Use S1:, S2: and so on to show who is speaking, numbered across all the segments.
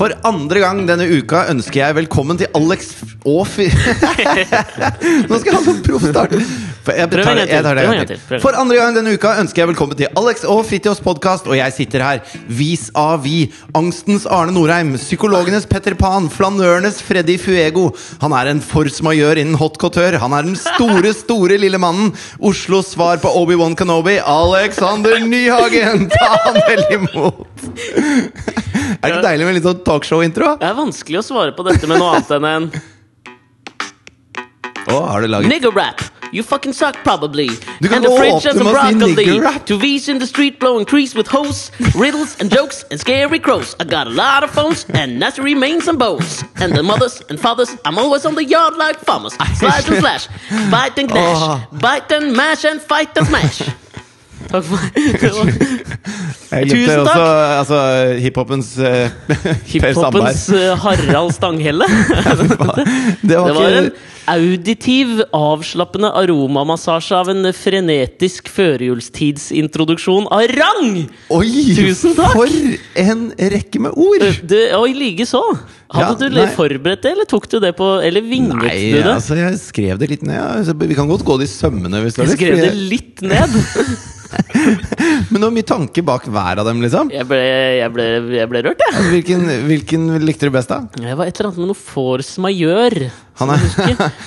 S1: For andre gang denne uka ønsker jeg velkommen til Alex og Fi... Nå skal han få proffstart! sånn For Jeg,
S2: Prøv en gang til,
S1: jeg tar det en
S2: prøv en
S1: gang
S2: gang til, prøv
S1: til.
S2: en
S1: For andre gang denne uka ønsker jeg velkommen til Alex og Fritjofs podkast, og jeg sitter her vis-à-vis angstens Arne Norheim, psykologenes Petter Pan, flanørenes Freddy Fuego. Han er en force majeure innen hot couture. Han er den store, store lille mannen. Oslos svar på Obi-Wan Kenobi, Alexander Nyhagen! Ta han vel imot! Er det ikke deilig med litt sånn talkshow-intro?
S2: Det er vanskelig å svare på dette med noe annet enn en
S1: Å, har du laget
S2: nigger rap. You fucking suck, probably.
S1: Du kan
S2: and the
S1: gå
S2: fridge
S1: opp
S2: has
S1: til
S2: some
S1: meg og si
S2: broccoli.
S1: nigger rap.
S2: Two V's in the street blowing trees with hoes, riddles and jokes and scary crows. I got a lot of phones and nasty remains and bows. And the mothers and fathers, I'm always on the yard like farmers. Slice and slash, bite and gnash,
S1: Åh.
S2: bite and mash and fight and smash. Takk for
S1: Jeg
S2: Tusen
S1: likte
S2: takk.
S1: også altså, hiphopens eh, Per Sandberg.
S2: Hiphopens eh, Harald Stanghelle.
S1: Det var,
S2: Det var en
S1: ikke
S2: auditiv, avslappende aromamassasje av en frenetisk førjulstidsintroduksjon av rang!
S1: Oi!
S2: Tusen takk!
S1: For en rekke med ord!
S2: Du, og i likeså.
S1: Ja,
S2: Hadde du le-
S1: nei.
S2: forberedt det, eller tok du det på Eller vinget
S1: Nei,
S2: du det?
S1: altså, jeg skrev det litt ned. ja. Altså, Vi kan godt gå det i sømmene. Hvis du har
S2: Jeg
S1: lyst,
S2: skrev det
S1: fordi-
S2: litt ned.
S1: Men det var mye tanke bak hver av dem, liksom.
S2: Jeg ble, jeg ble, jeg ble rørt, jeg.
S1: Hvilken, hvilken likte du best, da?
S2: Det var et eller annet med noe force majeure.
S1: Han er,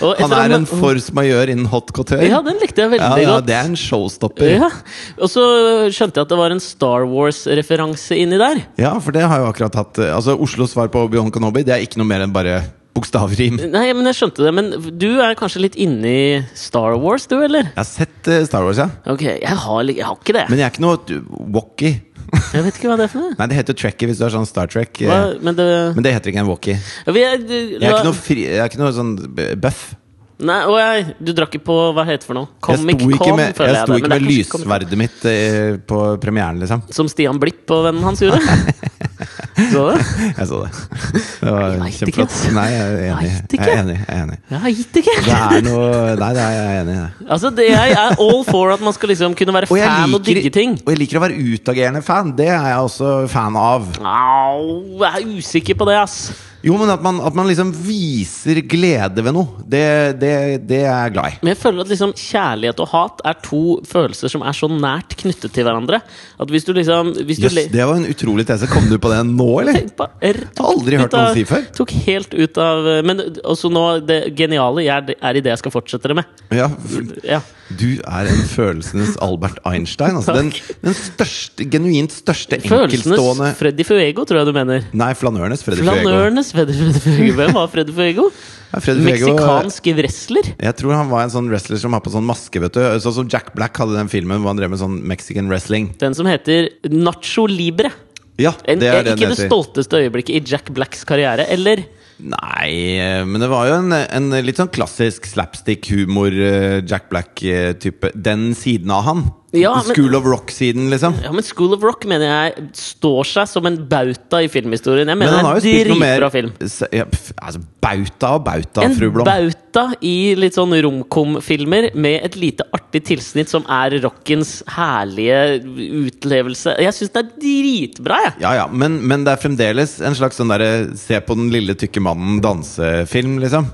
S2: Og et
S1: han
S2: eller
S1: er
S2: annet
S1: en
S2: med-
S1: force majeure innen hot couture.
S2: Ja, den likte jeg veldig
S1: Ja, ja,
S2: godt.
S1: det er en showstopper.
S2: Ja. Og så skjønte jeg at det var en Star Wars-referanse inni der.
S1: Ja, for det har jo akkurat hatt eh, Altså, Oslos svar på Beyond Kenobi, det er ikke noe mer enn bare bokstavrim.
S2: Nei, men jeg skjønte det. Men du er kanskje litt inne i Star Wars, du, eller?
S1: Jeg har sett eh, Star Wars, ja.
S2: Ok, jeg har, li- jeg har ikke det.
S1: Men jeg er ikke noe du, walkie.
S2: Jeg vet ikke hva det er for noe.
S1: Nei, det heter trekkie hvis du er sånn Star Trek. eh.
S2: Hva, men det
S1: Men det heter ikke en walkie.
S2: vi er, du,
S1: Jeg er ikke noe, fri, jeg er ikke noe sånn b- buff.
S2: Nei, og jeg, du drakk ikke på Hva heter det for noe?
S1: Jeg sto
S2: Comic
S1: ikke
S2: Con,
S1: med,
S2: føler
S1: jeg
S2: jeg.
S1: sto
S2: det,
S1: ikke
S2: men det
S1: med
S2: er kanskje Comic Con.
S1: lyssverdet mitt eh, på premieren, liksom.
S2: Som Stian Blipp og vennen hans gjorde. Så det?
S1: Jeg så det. Det var
S2: Jeg vet ikke,
S1: kjempeflott.
S2: ass.
S1: Nei, jeg er enig.
S2: Vet ikke.
S1: Jeg er enig. Jeg er enig.
S2: Jeg har gitt ikke!
S1: Det er noe Nei, det er jeg enig i. det.
S2: Altså, det jeg er all for at man skal liksom kunne være
S1: Og jeg,
S2: fan og digge
S1: liker,
S2: ting.
S1: og jeg liker å være utagerende fan. Det er jeg også fan av.
S2: Au, jeg er usikker på det, ass.
S1: Jo, men at man, at man liksom viser glede ved noe, det, det, det er jeg glad i.
S2: Men jeg føler at liksom kjærlighet og hat er to følelser som er så nært knyttet til hverandre. At hvis du liksom hvis du
S1: Jøss,
S2: le-
S1: det var en utrolig tese. Kom du på det nå, eller?
S2: Tenk på R- tok
S1: Aldri hørt
S2: ut av-
S1: noen si før.
S2: Tok helt ut av eh, Men også nå, det geniale jeg er, er i det jeg skal fortsette det med.
S1: Ja,
S2: Ja.
S1: du er en følelsenes Albert Einstein. Altså den, den største, genuint største enkeltstående
S2: Følelsenes Freddy Fuego, tror jeg du mener.
S1: Nei, flanørenes Freddy Fuego.
S2: Flanørenes Freddy Freddy Fuego. Hvem var Freddy Fuego?
S1: Ja, Freddy Fuego, eh,
S2: Meksikansk wrestler.
S1: Jeg tror han var en sånn wrestler som har på sånn maske, vet du. Sånn som Jack Black hadde den filmen hvor han drev med sånn mexican wrestling.
S2: Den som heter Nacho Libre.
S1: Ja,
S2: En,
S1: det er det
S2: ikke
S1: den
S2: det
S1: heter.
S2: stolteste øyeblikket i Jack Blacks karriere, eller?
S1: Nei, eh, men det var jo en, en litt sånn klassisk slapstick-humor, eh, Jack Black-type. Den siden av han.
S2: Ja, men-
S1: School of Rock-siden, liksom.
S2: Ja, men School of Rock mener jeg står seg som en bauta i filmhistorien. Jeg
S1: Men
S2: mener
S1: han har jo
S2: det
S1: spilt
S2: er en
S1: noe mer
S2: dritbra film.
S1: s- ja, pff, altså, Bauta og bauta,
S2: En
S1: fru Blom.
S2: bauta i litt sånn romcom-filmer med et lite artig tilsnitt som er rockens herlige utlevelse. Jeg syns det er dritbra, jeg!
S1: Ja, ja, men, men det er fremdeles en slags sånn derre se på den lille tykke mannen danse-film, liksom.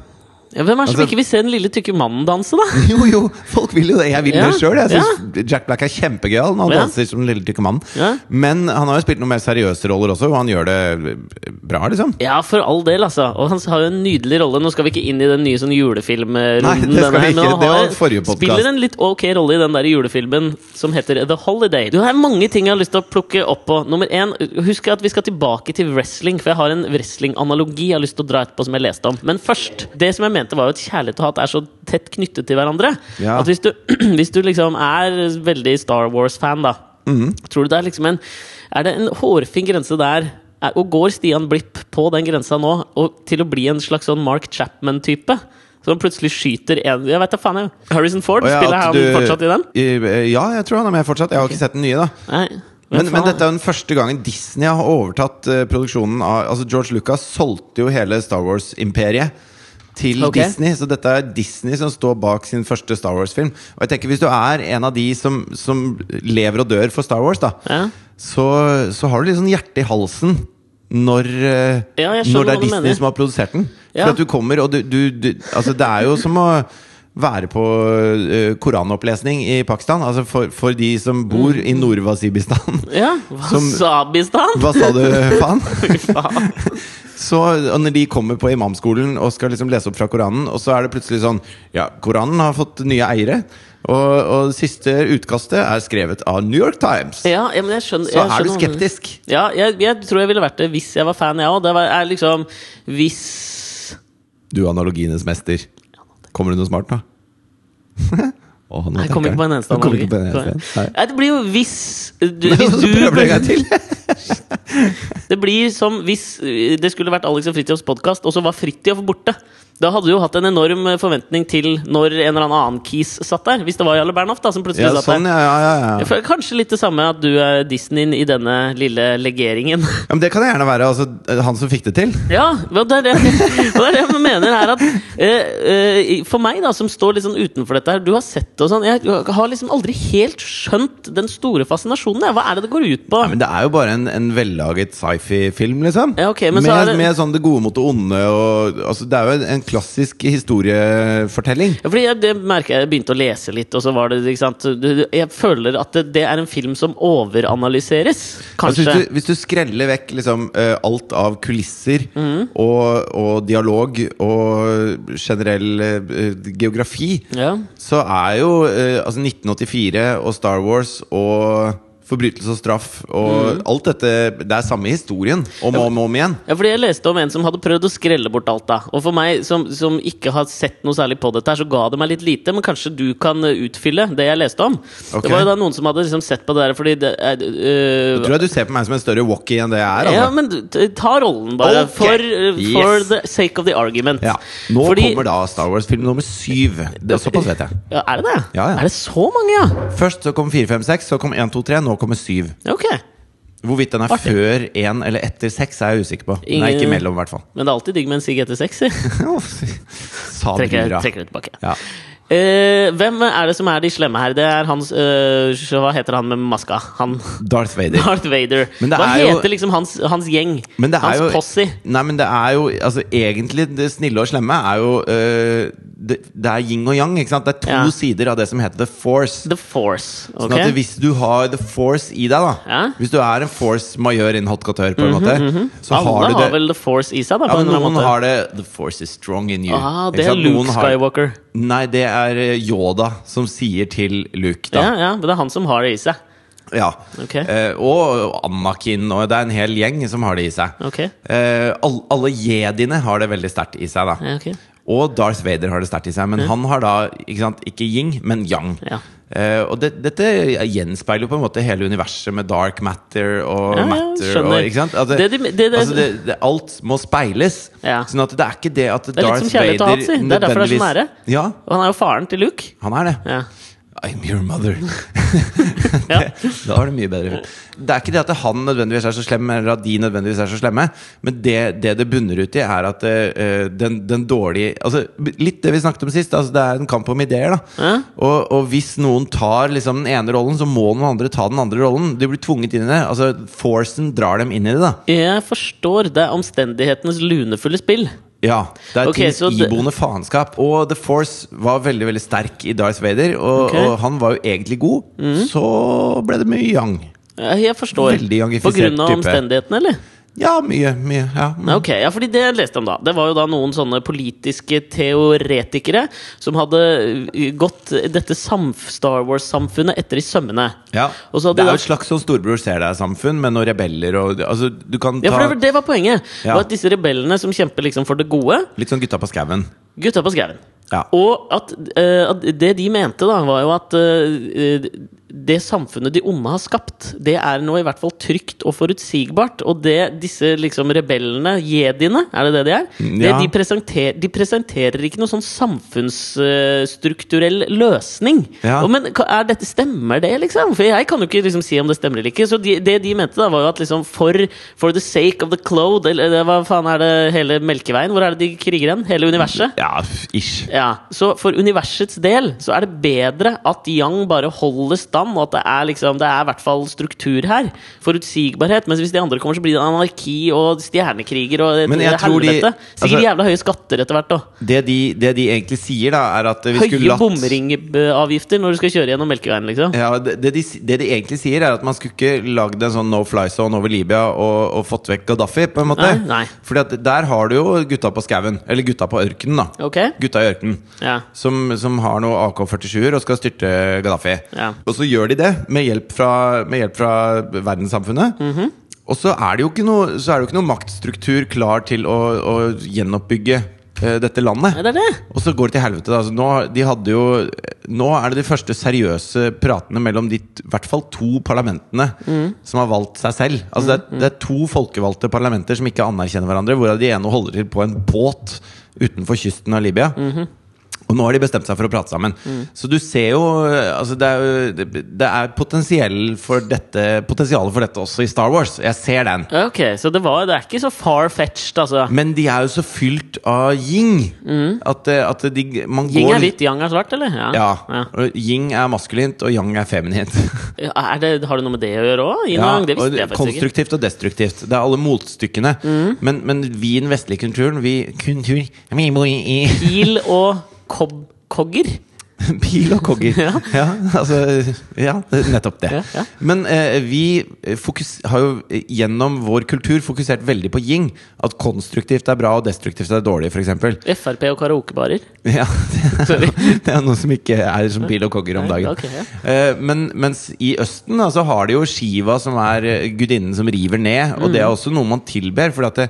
S2: Ja, Hvem er det som
S1: Altså-
S2: ikke vil se den lille tykke mannen danse, da?
S1: Jo, jo, folk vil jo det. Jeg vil
S2: Ja,
S1: det sjøl. Jeg syns Jack Black er kjempegøyal når han
S2: Ja.
S1: danser som den lille tykke mannen.
S2: Ja.
S1: Men han har jo spilt noen mer seriøse roller også, og han gjør det bra, liksom.
S2: Ja, for all del, altså. Og han har jo en nydelig rolle. Nå skal vi ikke inn i den nye sånn julefilmrunden.
S1: Nei, det skal
S2: denne her,
S1: vi
S2: men
S1: ikke.
S2: han
S1: Det var
S2: har-
S1: forrige podcast.
S2: Spiller en litt ok rolle i den der julefilmen som heter The Holiday. Du har mange ting jeg har lyst til å plukke opp på. Nummer én, husk at vi skal tilbake til wrestling, for jeg har en wrestling-analogi jeg har lyst til å dra etterpå som jeg leste om. Men først, det som jeg mente var jo at kjærlighet og hat er så tett knyttet til hverandre.
S1: Ja.
S2: At hvis du, hvis du liksom er veldig Star Wars-fan, da, tror du det er liksom en Er det en hårfin grense der? Er- Og går Stian Blipp på den grensa nå og til å bli en slags sånn Mark Chapman-type? Som plutselig skyter en Jeg vet da faen, jeg. Harrison Ford?
S1: Og ja,
S2: Spiller
S1: at
S2: han
S1: du-
S2: fortsatt i den?
S1: I- eh, Ja, jeg tror han er med fortsatt. Jeg har ikke sett den nye, da.
S2: Nei.
S1: Men, men dette er jo den første gangen Disney har overtatt eh, produksjonen av Altså George Lucas solgte jo hele Star Wars-imperiet til
S2: Ok.
S1: Disney. Så dette er Disney som står bak sin første Star Wars-film. Og jeg tenker hvis du er en av de som, som lever og dør for Star Wars, da,
S2: Ja.
S1: så, så har du litt sånn hjerte i halsen når, eh,
S2: Ja, jeg skjønner
S1: når det
S2: hva
S1: er
S2: du
S1: Disney
S2: mener.
S1: som har produsert den.
S2: Ja.
S1: For at du kommer, og du, du, du Altså, det er jo som å være på eh, koranopplesning i Pakistan. Altså for, for de som bor
S2: Mm.
S1: i Nord-Wasibistan.
S2: Ja, Wasabistan!
S1: Hva sa du, faen?
S2: Fy faen.
S1: Så og når de kommer på imamskolen og skal liksom lese opp fra Koranen, og så er det plutselig sånn Ja, Koranen har fått nye eiere, og, og det siste utkastet er skrevet av New York Times.
S2: Ja, ja, men jeg skjønner
S1: Så er
S2: jeg
S1: du
S2: skjønner hva du mener.
S1: skeptisk.
S2: Ja, jeg, jeg tror jeg ville vært det hvis jeg var fan, jeg òg. Det var- er liksom Hvis
S1: Du analogienes mester. Kommer det noe smart nå? Åh, nå
S2: Nei, Jeg kom
S1: tenker
S2: ikke på en eneste
S1: Nå kommer
S2: analogi.
S1: ikke på en eneste.
S2: Nei.
S1: Nei.
S2: Nei, det blir jo hvis du, hvis
S1: Så
S2: du
S1: prøver du en gang til.
S2: Det blir som hvis eh, det skulle vært Alex og Fridtjofs podkast, og så var Fridtjof borte. Da hadde du jo hatt en enorm eh, forventning til når en eller annen kis satt der. Hvis det var Jarle Bernhoft da, som plutselig
S1: Ja,
S2: satt
S1: sånn,
S2: der.
S1: ja, ja, ja, ja.
S2: Jeg føler kanskje litt det samme at du er Disney i denne lille legeringen.
S1: ja. Men det kan jeg gjerne være. Altså, han som fikk det til.
S2: Ja, og det er det, og det, er det jeg mener her at eh, eh, For meg, da, som står litt sånn utenfor dette her Du har sett det og sånn. Jeg har liksom aldri helt skjønt den store fascinasjonen. Jeg. Hva er det det går ut på?
S1: Ja, men Det er jo bare en, en vellaget sci-fi-film, liksom.
S2: Ja, ok, men
S1: med,
S2: så er det-
S1: med sånn det gode mot det onde og altså, Det er jo en, en klassisk historiefortelling.
S2: Ja, fordi jeg, det merker jeg, jeg begynte å lese litt, og så var det ikke sant? du- du- Jeg føler at det, det er en film som overanalyseres,
S1: Altså,
S2: kanskje.
S1: hvis, du, hvis du skreller vekk liksom, eh, alt av kulisser
S2: Mhm.
S1: og, og dialog og generell eh, geografi,
S2: ja.
S1: så er jo eh, altså 1984 og Star Wars og forbrytelse og straff og
S2: Mm.
S1: alt dette Det er samme historien om og om, og om igjen.
S2: ja, fordi jeg leste om en som hadde prøvd å skrelle bort alt, da. Og for meg som, som ikke har sett noe særlig på dette, her, så ga det meg litt lite. Men kanskje du kan eh, utfylle det jeg leste om?
S1: Ok.
S2: Det var jo da noen som hadde liksom sett på det der fordi det er øh,
S1: Tror jeg du ser på meg som en større walkie enn det jeg er.
S2: Ja,
S1: altså.
S2: men du- t- ta rollen, bare.
S1: Ok.
S2: For, eh, for
S1: Yes.
S2: the sake of the argument.
S1: Ja. Nå
S2: Fordi-
S1: kommer da Star Wars-film nummer syv. Det er Såpass vet jeg.
S2: ja, Er det det?
S1: Ja, ja.
S2: Er det så mange, ja?
S1: Først så kom 4, 5, 6, så kom 1, 2, 3, nå kommer 7.
S2: Ok.
S1: Hvorvidt den er
S2: Artig.
S1: før 1 eller etter 6, er jeg usikker på. Den er
S2: Ingen-
S1: ikke imellom, i hvert fall.
S2: Men det er alltid digg med en sigg etter seks. jeg.
S1: Sa
S2: Trekker,
S1: brura.
S2: trekker det tilbake.
S1: Ja.
S2: Eh, hvem er det som er de slemme her? Det er hans eh, Hva heter han med maska? Han
S1: Darth Vader.
S2: Darth Vader.
S1: Men det
S2: Hva
S1: er jo-
S2: heter liksom hans, hans gjeng?
S1: Men det er
S2: hans
S1: jo,
S2: posse?
S1: Nei, men det er jo altså, Egentlig, det snille og slemme er jo øh, det, det er yin og yang. Ikke sant? Det er to
S2: Ja.
S1: sider av det som heter the force.
S2: The Force.
S1: Sånn
S2: ok?
S1: at hvis du har the force i deg, da
S2: Ja. Mhm,
S1: Hvis du er en force majør in hot couture, på en måte, så
S2: Alle
S1: har
S2: har,
S1: du det
S2: vel The Force i seg, da?
S1: Ja,
S2: På
S1: men
S2: en eller
S1: noen
S2: annen måte.
S1: har det The force is strong in you.
S2: ah,
S1: Ikke
S2: det er
S1: sant? Noen
S2: Luke
S1: har-
S2: Skywalker.
S1: Nei, det er eh, Yoda som sier til Luke,
S2: Ja,
S1: da.
S2: ja, men det er han som har det i seg.
S1: Ja.
S2: Ok.
S1: Eh, og Anakin, og det er en hel gjeng som har det i seg.
S2: Ok,
S1: Eh, all, alle jediene har det veldig sterkt i seg, da.
S2: ja, ok.
S1: Og Darth Vader har det sterkt i seg, men han har da ikke, sant, ikke yin, men yang.
S2: Ja.
S1: Eh, og det, dette gjenspeiler jo på en måte hele universet med dark matter og
S2: Ja, ja,
S1: matter. og,
S2: skjønner.
S1: ikke sant? Altså,
S2: Det de- det- det-
S1: altså, det- det- alt må speiles.
S2: Ja.
S1: Sånn at det er ikke det at
S2: er litt
S1: Darth
S2: som kjærlighet og
S1: Vader
S2: hat, si. Det er derfor det er så
S1: nødvendigvis-
S2: nære.
S1: Ja,
S2: Og han er jo faren til Luke.
S1: han er det.
S2: Ja.
S1: I'm your mother.
S2: Ja.
S1: da var det mye bedre. Det er ikke det at han nødvendigvis er så slem, eller at de nødvendigvis er så slemme, men det det, det bunner ut i, er at eh, den, den dårlige altså, Litt det vi snakket om sist, altså, det er en kamp om ideer. Da.
S2: Ja.
S1: Og, og hvis noen tar liksom, den ene rollen, så må den andre ta den andre rollen. De blir tvunget inn i det. Altså, forcen drar dem inn i det. Da.
S2: Jeg forstår. Det er omstendighetenes lunefulle spill.
S1: Ja, Det er
S2: Ok, så
S1: tings
S2: det-
S1: iboende faenskap. Og The Force var veldig veldig sterk i Darth Vader, og,
S2: Ok. Mhm.
S1: og han var jo egentlig god. Så ble det mye yang.
S2: Jeg forstår.
S1: Veldig
S2: På
S1: youngifisert
S2: grunn av
S1: type.
S2: omstendighetene, eller?
S1: Ja, mye. mye ja. Mm.
S2: Ja, Ok, ja, fordi Det jeg leste om da Det var jo da noen sånne politiske teoretikere som hadde uh, gått dette samf Star Wars-samfunnet etter i sømmene.
S1: Ja.
S2: Og så hadde
S1: det er
S2: de
S1: jo
S2: da-
S1: et slags sånn storebror ser deg-samfunn, men noen rebeller og altså, Du kan
S2: Ja,
S1: ta
S2: for det, var- det var poenget.
S1: Ja.
S2: Var at Disse rebellene som kjemper liksom for det gode,
S1: litt sånn gutta på skauen.
S2: gutta på skauen.
S1: Ja.
S2: Og at, eh, at det de mente, da, var jo at eh, det samfunnet de onde har skapt, det er nå i hvert fall trygt og forutsigbart. Og det disse liksom rebellene, jediene, er det det de er?
S1: Mm, ja.
S2: Det, de, presenter, de presenterer ikke noen sånn samfunnsstrukturell løsning.
S1: Ja.
S2: Og, men ka- er dette, stemmer det, liksom? For jeg kan jo ikke liksom si om det stemmer eller ikke. Så de, det de mente, da, var jo at liksom for, for the sake of the cloud, eller eller hva faen er det hele Melkeveien? Hvor er det de kriger hen? Hele universet?
S1: Ja, ish.
S2: Ja, Så for universets del så er det bedre at yang bare holdes da land, og at det er liksom Det er i hvert fall struktur her. Forutsigbarhet. Mens hvis de andre kommer, så blir det anarki og stjernekriger og
S1: Men jeg
S2: helvete.
S1: tror de-
S2: Sikkert
S1: altså-
S2: jævla høye skatter etter hvert òg.
S1: Det de, det de egentlig sier, da, er at vi skulle
S2: Høye
S1: latt
S2: bomringavgifter når du skal kjøre gjennom Melkeveien, liksom.
S1: ja, det, det, de, det de egentlig sier, er at man skulle ikke lagd en sånn no fly zone over Libya og, og fått vekk Gaddafi, på en måte.
S2: Nei, nei.
S1: Fordi at der har du jo gutta på skauen. Eller gutta på ørkenen, da.
S2: Ok?
S1: Gutta i ørkenen.
S2: Ja.
S1: Som, som har noe AK-47-er og skal styrte Gaddafi.
S2: Ja.
S1: Og så gjør de det med hjelp fra, med hjelp fra verdenssamfunnet.
S2: Mhm.
S1: Og så er det jo ikke noe, så er det jo ikke noe maktstruktur klar til å, å gjenoppbygge eh, dette landet.
S2: Nei, det er det.
S1: Og så går det til helvete. Da. Altså, nå, de hadde jo, nå er det de første seriøse pratene mellom de t- i hvert fall to parlamentene
S2: Mm.
S1: som har valgt seg selv. Altså, det, er, det er to folkevalgte parlamenter som ikke anerkjenner hverandre, hvorav de ene holder til på en båt utenfor kysten av Libya.
S2: Mhm.
S1: Og nå har de bestemt seg for å prate sammen.
S2: Mm.
S1: Så du ser jo altså Det er, jo- det- det er potensiell for dette, potensialet for dette også i Star Wars. Jeg ser den.
S2: Ok, så det, var, det er ikke så far-fetched, altså.
S1: Men de er jo så fylt av yin at, eh, at de, man går
S2: Mm. Ying er hvitt, yang er svart, eller? Ja.
S1: Ja. og Yin er maskulint, og yang er feminint.
S2: Ja, Er det, har det noe med det å gjøre òg?
S1: Ja,
S2: det
S1: og
S2: visste jeg faktisk ikke. Mm.
S1: konstruktivt og destruktivt. Det er alle motstykkene. Men, men vi i den vestlige kulturen Vi kultur vi bor i i-
S2: Pil og kob kogger.
S1: Pil og kogger.
S2: Ja.
S1: Ja, altså, ja nettopp det.
S2: Ja, ja.
S1: Men eh, vi eh, fokus, har jo eh, gjennom vår kultur fokusert veldig på yin. At konstruktivt er bra, og destruktivt er dårlig, f.eks.
S2: Frp og karaokebarer.
S1: Ja,
S2: Sorry.
S1: Det er noe som ikke er som pil og kogger om
S2: Nei,
S1: dagen.
S2: ok, ja.
S1: Eh, Men mens i Østen da, så har de jo Shiva, som er eh, gudinnen som river ned. Og
S2: Mm.
S1: det er også noe man tilber. For at det,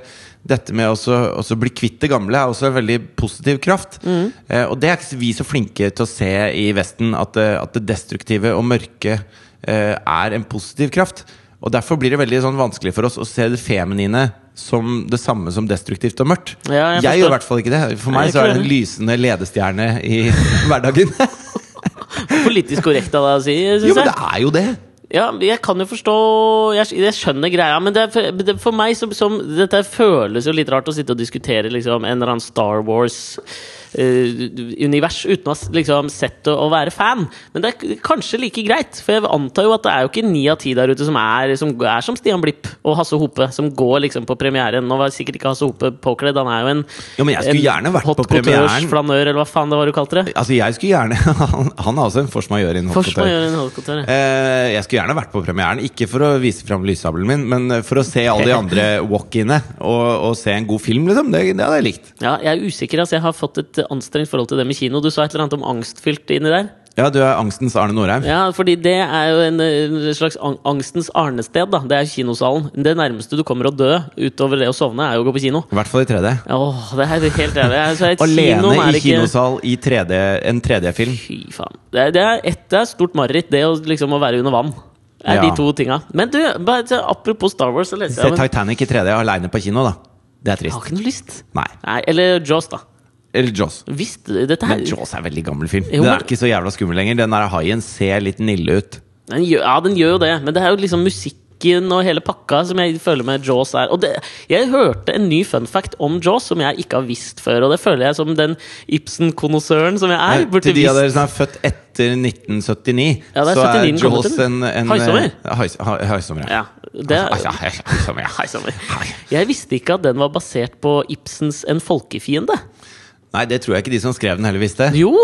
S1: dette med å så- å så bli kvitt det gamle er også en veldig positiv kraft.
S2: Mm.
S1: Eh, Og det er ikke så- vi så flinke til å se i Vesten, at, eh, at det destruktive og mørke eh, er en positiv kraft. Og derfor blir det veldig sånn vanskelig for oss å se det feminine som det samme som destruktivt og mørkt.
S2: Ja, jeg
S1: jeg gjør i
S2: forstår.
S1: hvert fall ikke det. For
S2: Nei,
S1: meg så er
S2: jeg
S1: det
S2: klarer
S1: en
S2: det.
S1: lysende ledestjerne i hverdagen.
S2: Politisk korrekt av deg å si,
S1: Jo,
S2: syns
S1: men
S2: jeg.
S1: det er jo det!
S2: Ja, jeg kan jo forstå Jeg, jeg skjønner greia, men det er for, det, for meg som, som Dette føles jo litt rart å sitte og diskutere liksom, en eller annen Star Wars-univers uten å ha s- liksom, sett og, og være fan. Men det er k- kanskje like greit, for jeg antar jo at det er jo ikke ni av ti der ute som er som, er som Stian Blipp og Hasse Hope, som går liksom, på premieren. Nå var sikkert ikke Hasse Hope påkledd, han er jo en,
S1: Jo, men jeg skulle gjerne vært
S2: hot
S1: på premieren.
S2: couture-flanør, eller hva faen det var du kalte det.
S1: Altså, jeg skulle gjerne Han, han er også en force majeure innen
S2: Først må jeg
S1: hoppetøy.
S2: gjøre en hot couture.
S1: Eh, jeg skulle gjerne vært på premieren, ikke for å vise fram lyssabelen min, men eh, for å se alle de andre walk-inne og, og se en god film, liksom. Det, det hadde jeg likt.
S2: Ja, jeg er usikker. Altså, jeg har fått et eh, anstrengt forhold til det med kino. Du sa et eller annet om angstfylt inni der.
S1: Ja, du er angstens Arne Norheim.
S2: Ja, fordi det er jo en eh, slags ang angstens arnested, da. Det er kinosalen. Det nærmeste du kommer å dø utover det å sovne, er jo å gå på kino.
S1: I hvert fall i 3D.
S2: Åh, det er helt enig. Altså, et
S1: Alene
S2: kinoen er
S1: i
S2: ikke-
S1: kinosal i 3D, en 3D-film.
S2: Fy faen. Det er, det er et det er stort mareritt, det å liksom å være under vann. Det er
S1: Ja.
S2: de to tinga. Men du, bare, så apropos Star Wars, så leste
S1: Se
S2: jeg om en-
S1: Titanic i 3D aleine på kino, da. Det er
S2: Jeg har
S1: trist.
S2: ikke noe lyst.
S1: Nei.
S2: Nei, eller Jaws, da.
S1: Eller Jaws.
S2: Visst, dette her
S1: Men Jaws er en veldig gammel film.
S2: Jo,
S1: den
S2: men-
S1: er ikke så jævla skummel lenger. Den der haien ser litt nille ut.
S2: Den gjør, ja, den gjør jo det, men det er jo liksom musikken og hele pakka som jeg føler med Jaws er. Og det, jeg hørte en ny fun fact om Jaws som jeg ikke har visst før, og det føler jeg som den Ibsen-konnoisseuren som jeg er, burde
S1: Eh, Til de av
S2: visst.
S1: dere som er født etter 1979,
S2: Ja, det er
S1: så er
S2: 79 den kommer
S1: Jaws
S2: til.
S1: en, en
S2: Haisommer.
S1: eh, hais- ha- Haisommer, ja.
S2: Ja, det,
S1: Altså, ja, ja, haisommer, ja.
S2: Hei, Sander.
S1: Hai.
S2: jeg visste ikke at den var basert på Ibsens En folkefiende.
S1: Nei, det tror jeg ikke de som skrev den, heller visste.
S2: Jo!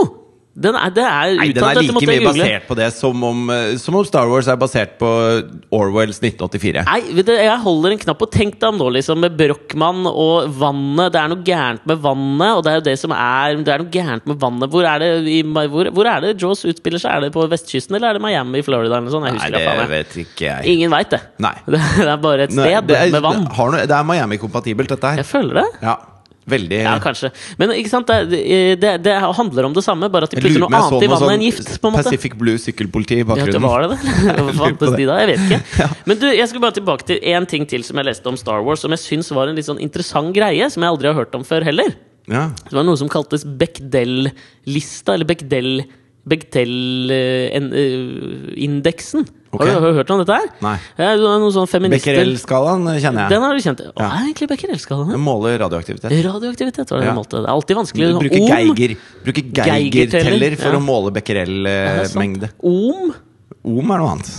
S2: Den er, det er
S1: Nei, den
S2: uttalt,
S1: er
S2: dette
S1: like
S2: måtte jeg
S1: mye
S2: google.
S1: basert på det som om, eh, som om Star Wars er basert på Orwells 1984.
S2: Nei, vet du, jeg holder en knapp på Tenk deg om nå, liksom, med Brochmann og vannet. Det er noe gærent med vannet, og det er jo det som er Det er noe gærent med vannet. Hvor er det, i, hvor, hvor er det Jaws utspiller seg? Er det på vestkysten, eller er det Miami i Florida? Eller noe sånt? Jeg
S1: Nei,
S2: husker
S1: det
S2: da faen jeg.
S1: vet ikke jeg.
S2: Ingen veit det.
S1: Nei.
S2: Det er bare et sted
S1: Nei, det er,
S2: med vann.
S1: har noe- det er Miami-kompatibelt, dette her.
S2: Jeg føler det.
S1: Ja, veldig
S2: Ja, kanskje. Men ikke sant, det, det, det handler om det samme, bare at de
S1: Jeg
S2: putter
S1: lurer på
S2: noe
S1: om jeg så
S2: annet i
S1: noe
S2: vannet enn
S1: sånn
S2: gift. på en måte
S1: Pacific Blue sykkelpoliti i
S2: Ja,
S1: bakgrunnen.
S2: det var det det? Hva fantes de da? Jeg vet ikke. Men du, jeg skal bare tilbake til én ting til som jeg leste om Star Wars, som jeg syns var en litt sånn interessant greie, som jeg aldri har hørt om før heller.
S1: Ja.
S2: Det var noe som kaltes Bechdel-lista, eller Bechdel... Bechdel-indeksen.
S1: Ok.
S2: Har, du, har du hørt om dette her?
S1: Nei.
S2: Ja, det var noen sånne feminister
S1: Becquerel-skalaen eh, kjenner jeg.
S2: Den har du kjent til. Hva er egentlig Becquerel-skalaen?
S1: Den måler radioaktivitet.
S2: Radioaktivitet var det
S1: Ja.
S2: de målte. Det er alltid vanskelig. Sånn
S1: Bruker
S2: ohm.
S1: Geiger Bruker
S2: Geiger-teller,
S1: Geiger-teller for
S2: ja.
S1: å måle
S2: Ja, det er sant.
S1: Becquerel-mengde.
S2: Ohm.
S1: Ohm er noe annet.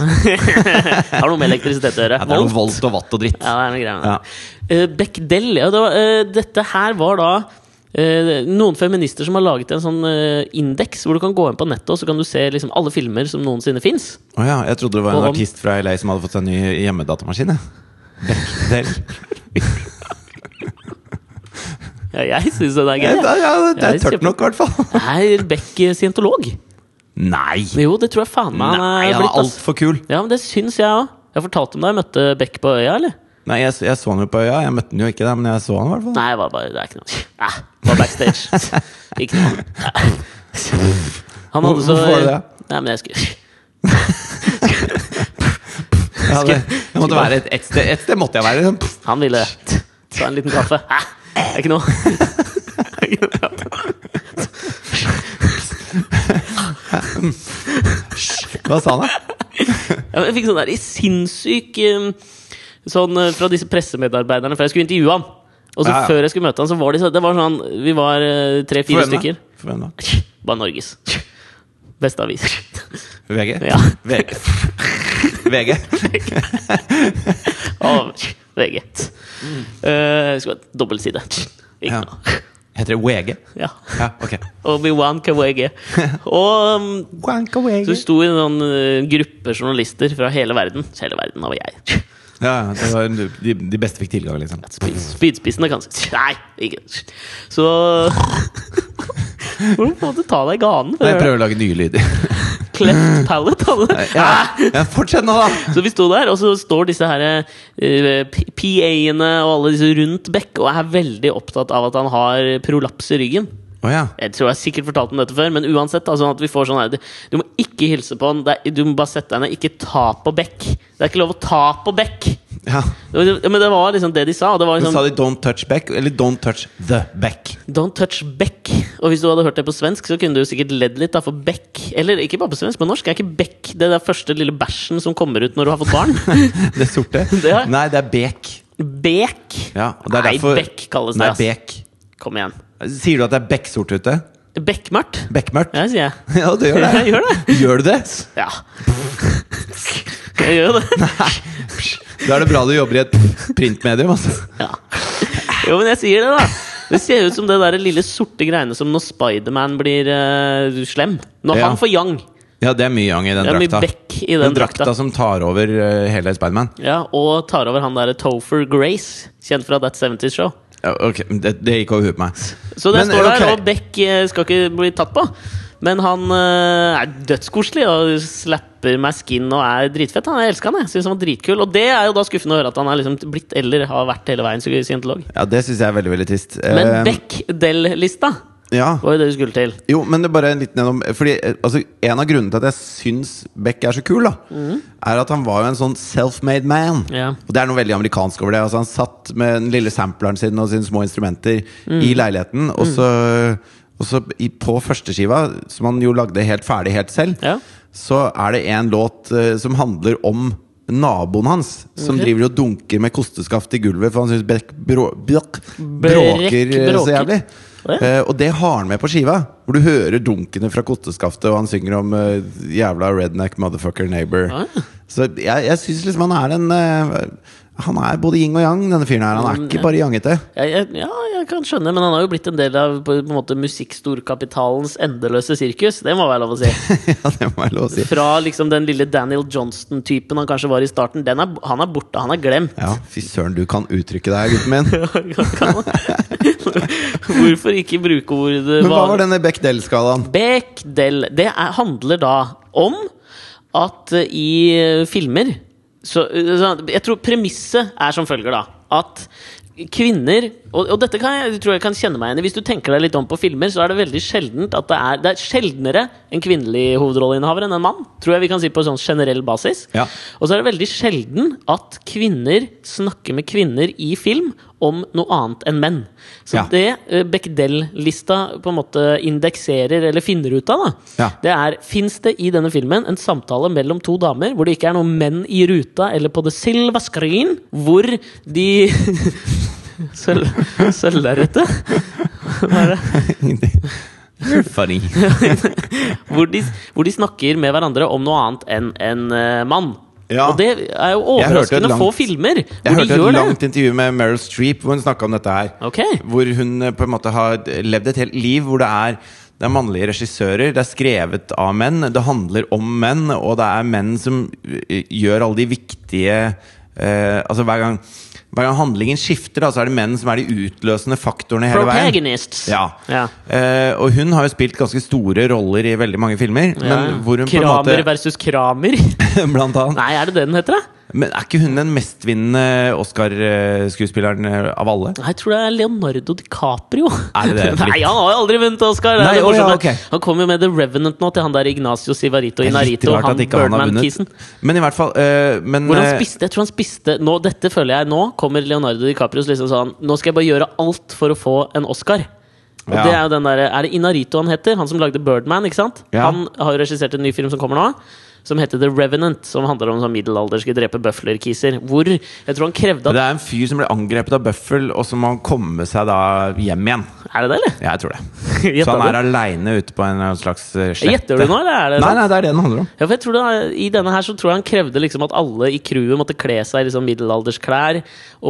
S2: Har noe med elektrisitet å gjøre.
S1: Ja, det er noe volt og watt og dritt.
S2: Ja, det er noe greier med
S1: Ja.
S2: det. Eh, Bechdel, ja. Det var, eh, dette her var da eh, noen feminister som har laget en sånn eh, indeks hvor du kan gå inn på nettet og så kan du se liksom, alle filmer som noensinne fins.
S1: Å ja, jeg trodde det var
S2: Og
S1: en
S2: om-
S1: artist fra LA som hadde fått seg en ny hjemmedatamaskin. jeg. Bechdel.
S2: Ja, jeg syns den er
S1: Ja,
S2: gøy.
S1: det
S2: jeg.
S1: er- det er
S2: Ja,
S1: tørt nok, i hvert fall.
S2: Er Beck eh, scientolog?
S1: Nei!
S2: Jo, det tror jeg faen meg han
S1: Nei, han
S2: er
S1: er
S2: blitt. ass.
S1: altfor kul.
S2: Ja, men Det syns jeg òg. Jeg fortalte om da jeg møtte Beck på øya, eller?
S1: Nei, jeg, jeg så han jo på øya. Jeg møtte han jo ikke der, men jeg så han i hvert fall.
S2: Nei, det var bare Det er ikke noe. Nei, det var backstage. ikke noe. Nei. Han hadde så
S1: Hvorfor var det det?
S2: Nei, men jeg skulle
S1: Jeg, hadde, jeg måtte være et, et, sted, et sted måtte jeg være. liksom. Pff,
S2: Han ville ta en liten kaffe. Hæ? Det er ikke noe.
S1: Hva sa han, da?
S2: Ja, men Jeg fikk sånn der sinnssyk um, Sånn eh, fra disse pressemedarbeiderne, for jeg skulle intervjue han. Og så
S1: Ja, ja.
S2: før jeg skulle møte han, så var de sånn Det var sånn Vi var
S1: For
S2: tre-fire
S1: hvem da?
S2: stykker.
S1: For hvem da?
S2: Bare Norges. Beste avis.
S1: VG?
S2: Ja.
S1: VG. VG.
S2: Og VG. Eh, skulle ha dobbeltside. Ikke
S1: Mm. Ja.
S2: noe.
S1: Heter det WG?
S2: Ja.
S1: Ja, ok.
S2: Obi-Wan Kawege. Og um,
S1: Wanka WG.
S2: Så vi sto i en sånn eh, gruppe journalister fra hele verden. Så hele verden, da var jeg.
S1: Ja, ja, det var de, de beste fikk tilgang, liksom.
S2: Spyd- Spydspissene, kanskje. Nei, ikke Så Hvordan må du ta deg i ganen? for å
S1: Nei, jeg
S2: gjøre det?
S1: prøver å lage nye lyder.
S2: Cleft palate, hadde du.
S1: Ja, ja, fortsett nå, da!
S2: Ah, Så vi sto der, og så står disse her eh, P- PA-ene og alle disse rundt Beck og er veldig opptatt av at han har prolaps i ryggen.
S1: Å ja.
S2: Jeg tror jeg har sikkert fortalt om dette før, men uansett. da, sånn at vi får sånn her, du, du må ikke hilse på han, det er, du må bare sette deg ned. Ikke ta på Beck. Det er ikke lov å ta på Beck!
S1: ja.
S2: Det var- det- Men det var liksom det de sa. og Det var
S1: Men sa
S2: liksom,
S1: de 'don't touch back'? Eller 'don't touch the back'?
S2: Don't touch Beck. Og hvis du hadde hørt det på svensk, så kunne du jo sikkert ledd litt. da, For Beck Eller ikke bare på svensk, men norsk er ikke Beck det der første lille bæsjen som kommer ut når du har fått barn.
S1: Det sorte?
S2: Det er-
S1: Nei, det er bek.
S2: Bek.
S1: Ja, og det er
S2: Nei,
S1: derfor-
S2: Beck kalles det.
S1: Nei,
S2: ass.
S1: bek.
S2: Kom igjen.
S1: Sier du at det er bekksort ute?
S2: Bekkmørkt.
S1: Bekkmørkt?
S2: Ja, sier jeg.
S1: Ja, du gjør det.
S2: Jeg gjør det.
S1: Gjør du det?
S2: Ja. Jeg gjør jo det.
S1: Da er det bra du jobber i et printmedium. Altså.
S2: Ja. Jo, men jeg sier det, da. Det ser ut som det der lille sorte greiene som når Spiderman blir eh, slem. Når
S1: Ja.
S2: han får yang.
S1: Ja, det er mye yang i den
S2: Det er mye
S1: drakta.
S2: bekk i den
S1: Den drakta
S2: drakta.
S1: som tar over eh, hele Spiderman.
S2: Ja, og tar over han derre Topher Grace, kjent fra That 70's Show.
S1: Ja, ok, det, det gikk over huet på meg.
S2: Så det
S1: Men,
S2: står der,
S1: ok.
S2: og Beck eh, skal ikke bli tatt på. Men han eh, er dødskoselig og slapper meg skin og er dritfett. Han, jeg elsker han, jeg. Synes han var dritkul. Og det er jo da skuffende å høre at han er liksom blitt eller har vært hele veien scientolog.
S1: Ja, Det syns jeg er veldig veldig trist.
S2: Men
S1: Eh,
S2: Beck-Del-lista
S1: ja.
S2: var jo det du skulle til.
S1: Jo, men det er bare en liten gjennom Fordi eh, altså, En av grunnene til at jeg syns Beck er så kul, da er at han var jo en sånn self-made man.
S2: Ja.
S1: Og det er noe veldig amerikansk over det. Altså Han satt med den lille sampleren sin og sine små instrumenter
S2: Mm.
S1: i leiligheten, og så, og så i, på førsteskiva, som han jo lagde helt ferdig helt selv,
S2: Ja.
S1: så er det en låt eh, som handler om naboen hans, som
S2: Ok.
S1: driver og dunker med kosteskaft i gulvet, for han syns Beck brå, bråk,
S2: Brekk
S1: bråker eh, så
S2: bråker.
S1: jævlig.
S2: Å, ja.
S1: Eh, og det har han med på skiva, hvor du hører dunkene fra kotteskaftet, og han synger om eh, jævla redneck motherfucker neighbor.
S2: Ah, ja.
S1: Så jeg, jeg syns liksom han er en eh, Han er både yin og yang, denne fyren her. Han er
S2: Mm,
S1: ikke bare jangete.
S2: Jeg, jeg, ja, jeg kan skjønne, men han har jo blitt en del av på en måte musikkstorkapitalens endeløse sirkus. Det må være lov å si.
S1: ja, det må jeg lov å si.
S2: Fra liksom den lille Daniel Johnston-typen han kanskje var i starten. Den er, han er borte, han er glemt.
S1: Ja, fy søren, du kan uttrykke deg, gutten min.
S2: Hvorfor ikke bruke ordet
S1: Men hva var denne Bechdel-skalaen?
S2: Bechdel Det er, handler da om at eh, i eh, filmer så, eh, så Jeg tror premisset er som følger, da. At kvinner Og, og dette kan jeg, tror jeg kan kjenne meg igjen i. Hvis du tenker deg litt om på filmer, så er det veldig sjeldent at det er Det er sjeldnere en kvinnelig hovedrolleinnehaver enn en mann. Tror jeg vi kan si på sånn generell basis.
S1: Ja.
S2: Og så er det veldig sjelden at kvinner snakker med kvinner i film om noe annet enn menn. Så
S1: Ja.
S2: det eh, Bechdel-lista på en måte indekserer eller finner ut av, da,
S1: Ja.
S2: det er Fins det i denne filmen en samtale mellom to damer hvor det ikke er noen menn i ruta eller på det silva screen, hvor de Sølv- Sølvlerretet? Hva er det?
S3: You're funny.
S2: hvor, de, hvor de snakker med hverandre om noe annet enn en eh, mann.
S1: Ja.
S2: Og det er jo
S1: Jeg hørte et
S2: overraskende få
S1: langt-
S2: filmer
S1: Jeg
S2: hvor de
S1: hørte et
S2: gjør det.
S1: langt intervju med Meryl Streep hvor hun snakka om dette her.
S2: Ok.
S1: Hvor hun eh, på en måte har levd et helt liv hvor det er det er mannlige regissører, det er skrevet av menn, det handler om menn, og det er menn som eh, gjør alle de viktige eh, Altså hver gang, hver gang handlingen skifter, da, så er det menn som er de utløsende faktorene hele veien.
S2: Protagonists.
S1: Ja.
S2: Ja.
S1: Eh, og hun har jo spilt ganske store roller i veldig mange filmer.
S2: Ja.
S1: Men hvor hun på en
S2: Kramer
S1: måte
S2: versus Kramer.
S1: Blant annet.
S2: Nei, er det det den heter, da?
S1: Men er ikke hun den mestvinnende Oscar-skuespilleren eh, av alle?
S2: Nei, Jeg tror det er Leonardo DiCaprio.
S1: Er det det?
S2: Nei, han har jo aldri vunnet Oscar! det er
S1: Nei,
S2: det
S1: å ja,
S2: morsomme.
S1: ok.
S2: Han kommer jo med The Revenant nå til han der Ignacio Sivarito
S1: Det er litt
S2: Inarito,
S1: rart
S2: han
S1: at ikke han har vunnet.
S2: Birdman-kisen.
S1: Men i hvert fall eh, men,
S2: Hvor han
S1: eh,
S2: spiste, jeg tror han spiste nå, Dette føler jeg nå kommer Leonardo DiCaprio liksom sånn Nå skal jeg bare gjøre alt for å få en Oscar. Og
S1: Ja.
S2: det Er jo den der, er det Inarito han heter? Han som lagde Birdman? ikke sant?
S1: Ja.
S2: Han har jo regissert en ny film som kommer nå, som heter The Revenant. Som handler om sånn middelalderske drepe bøflerkiser. Hvor jeg tror han krevde at
S1: Det er en fyr som ble angrepet av bøffel, og så må han komme seg da hjem igjen.
S2: Er det det, eller?
S1: Ja, jeg tror det.
S2: Gjetter
S1: Så han
S2: du?
S1: er aleine ute på en slags eh, slette.
S2: Gjetter du nå, eller er det sånn?
S1: Nei,
S2: sant?
S1: nei, det er det den handler om.
S2: Ja, for jeg tror det, er- I denne her så tror jeg han krevde liksom at alle i crewet måtte kle seg i liksom middelaldersklær.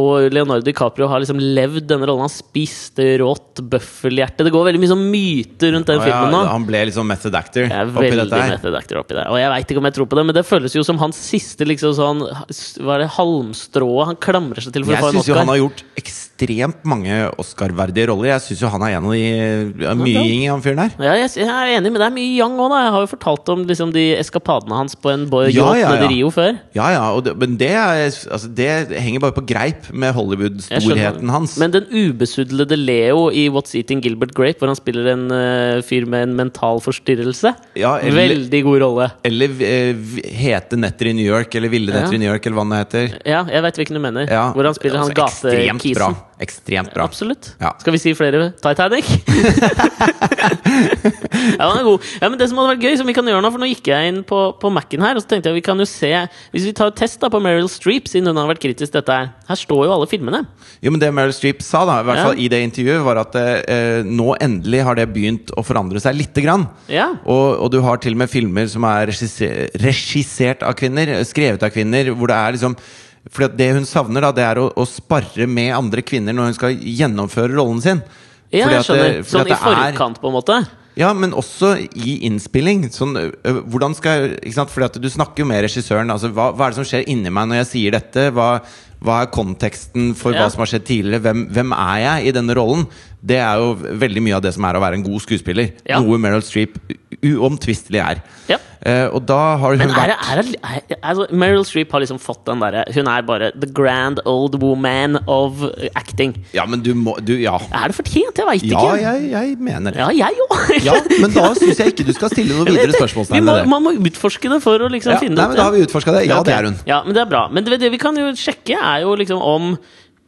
S2: Og Leonardo DiCaprio har liksom levd denne rollen. Han spiste rått bøffelhjerte. Det går veldig mye sånn myter rundt den
S1: Og
S2: filmen
S1: jeg,
S2: nå.
S1: han ble litt sånn method actor
S2: Jeg er
S1: oppi
S2: veldig
S1: dette her.
S2: method actor oppi det. Og jeg veit ikke om jeg tror på det, men det føles jo som hans siste liksom sånn s- Hva er det, halmstrået han klamrer seg til for å
S1: Jeg
S2: få en
S1: syns jo
S2: Oscar.
S1: han har gjort ekstremt mange Oscar-verdige roller. Jeg syns jo han er en av de ja, Mye i han fyren der.
S2: ja, jeg, s- jeg er enig, men det er mye yang òg, da. Jeg har jo fortalt om liksom, de eskapadene hans på en båt
S1: Ja, ja,
S2: nede i
S1: ja.
S2: Rio før.
S1: Ja, ja, og det, men det, er, altså, det henger bare på greip med
S2: Jeg skjønner.
S1: Hollywood-storheten hans.
S2: Men den ubesudlede Leo i What's Eating Gilbert Grape, hvor han spiller en eh, fyr med en mental forstyrrelse
S1: Ja, eller-
S2: Veldig god rolle.
S1: Eller eh, v- Hete netter i New York, eller Ville netter
S2: Ja.
S1: i New York, eller hva det heter.
S2: Ja, jeg veit hvilken du mener.
S1: Ja,
S2: Hvor han spiller han
S1: altså, Ekstremt bra.
S2: gatekisen.
S1: Ekstremt bra.
S2: Absolutt.
S1: Ja.
S2: Skal vi si flere Titanic? ja, den er god. Ja, men det som hadde vært gøy, som vi kan gjøre nå, for nå gikk jeg inn på, på Mac-en her, og så tenkte jeg vi kan jo se Hvis vi tar et test da på Meryl Streep, siden hun har vært kritisk til dette her. Her står jo alle filmene.
S1: Jo, men Det Meryl Streep sa da, i hvert
S2: Ja.
S1: fall i det intervjuet, var at eh, nå endelig har det begynt å forandre seg lite grann.
S2: Ja.
S1: Og, og du har til og med filmer som er regissert, regissert av kvinner, skrevet av kvinner, hvor det er liksom For det hun savner, da, det er å, å sparre med andre kvinner når hun skal gjennomføre rollen sin.
S2: Ja,
S1: Fordi
S2: jeg
S1: at det-
S2: skjønner.
S1: fordi at
S2: Sånn i
S1: det er-
S2: forkant, på en måte.
S1: Ja, men også i innspilling. Sånn, ø, hvordan skal ikke sant? Fordi at Du snakker jo med regissøren. Altså, hva, hva er det som skjer inni meg når jeg sier dette? Hva, hva er konteksten for
S2: Ja.
S1: hva som har skjedd tidligere? Hvem, hvem er jeg i denne rollen? Det er jo veldig mye av det som er å være en god skuespiller.
S2: Ja.
S1: Noe Meryl Streep u- uomtvistelig er.
S2: Ja.
S1: Eh, og da har hun
S2: Men er det,
S1: vært
S2: er det, er, altså, Meryl Streep har liksom fått den derre Hun er bare the grand old woman of acting.
S1: Ja, men du må du, Ja,
S2: Er det fortjent? Jeg veit
S1: ja
S2: ikke.
S1: jeg, jeg mener det.
S2: Ja, jeg òg.
S1: Ja, men da syns jeg ikke du skal stille noe videre spørsmålstegn ved det.
S2: Man må utforske det for å liksom
S1: Ja,
S2: finne
S1: nei,
S2: ut
S1: men da har vi utforska det. Ja, det er hun.
S2: Ja, men det er bra. Men det, det vi kan jo sjekke, er jo liksom om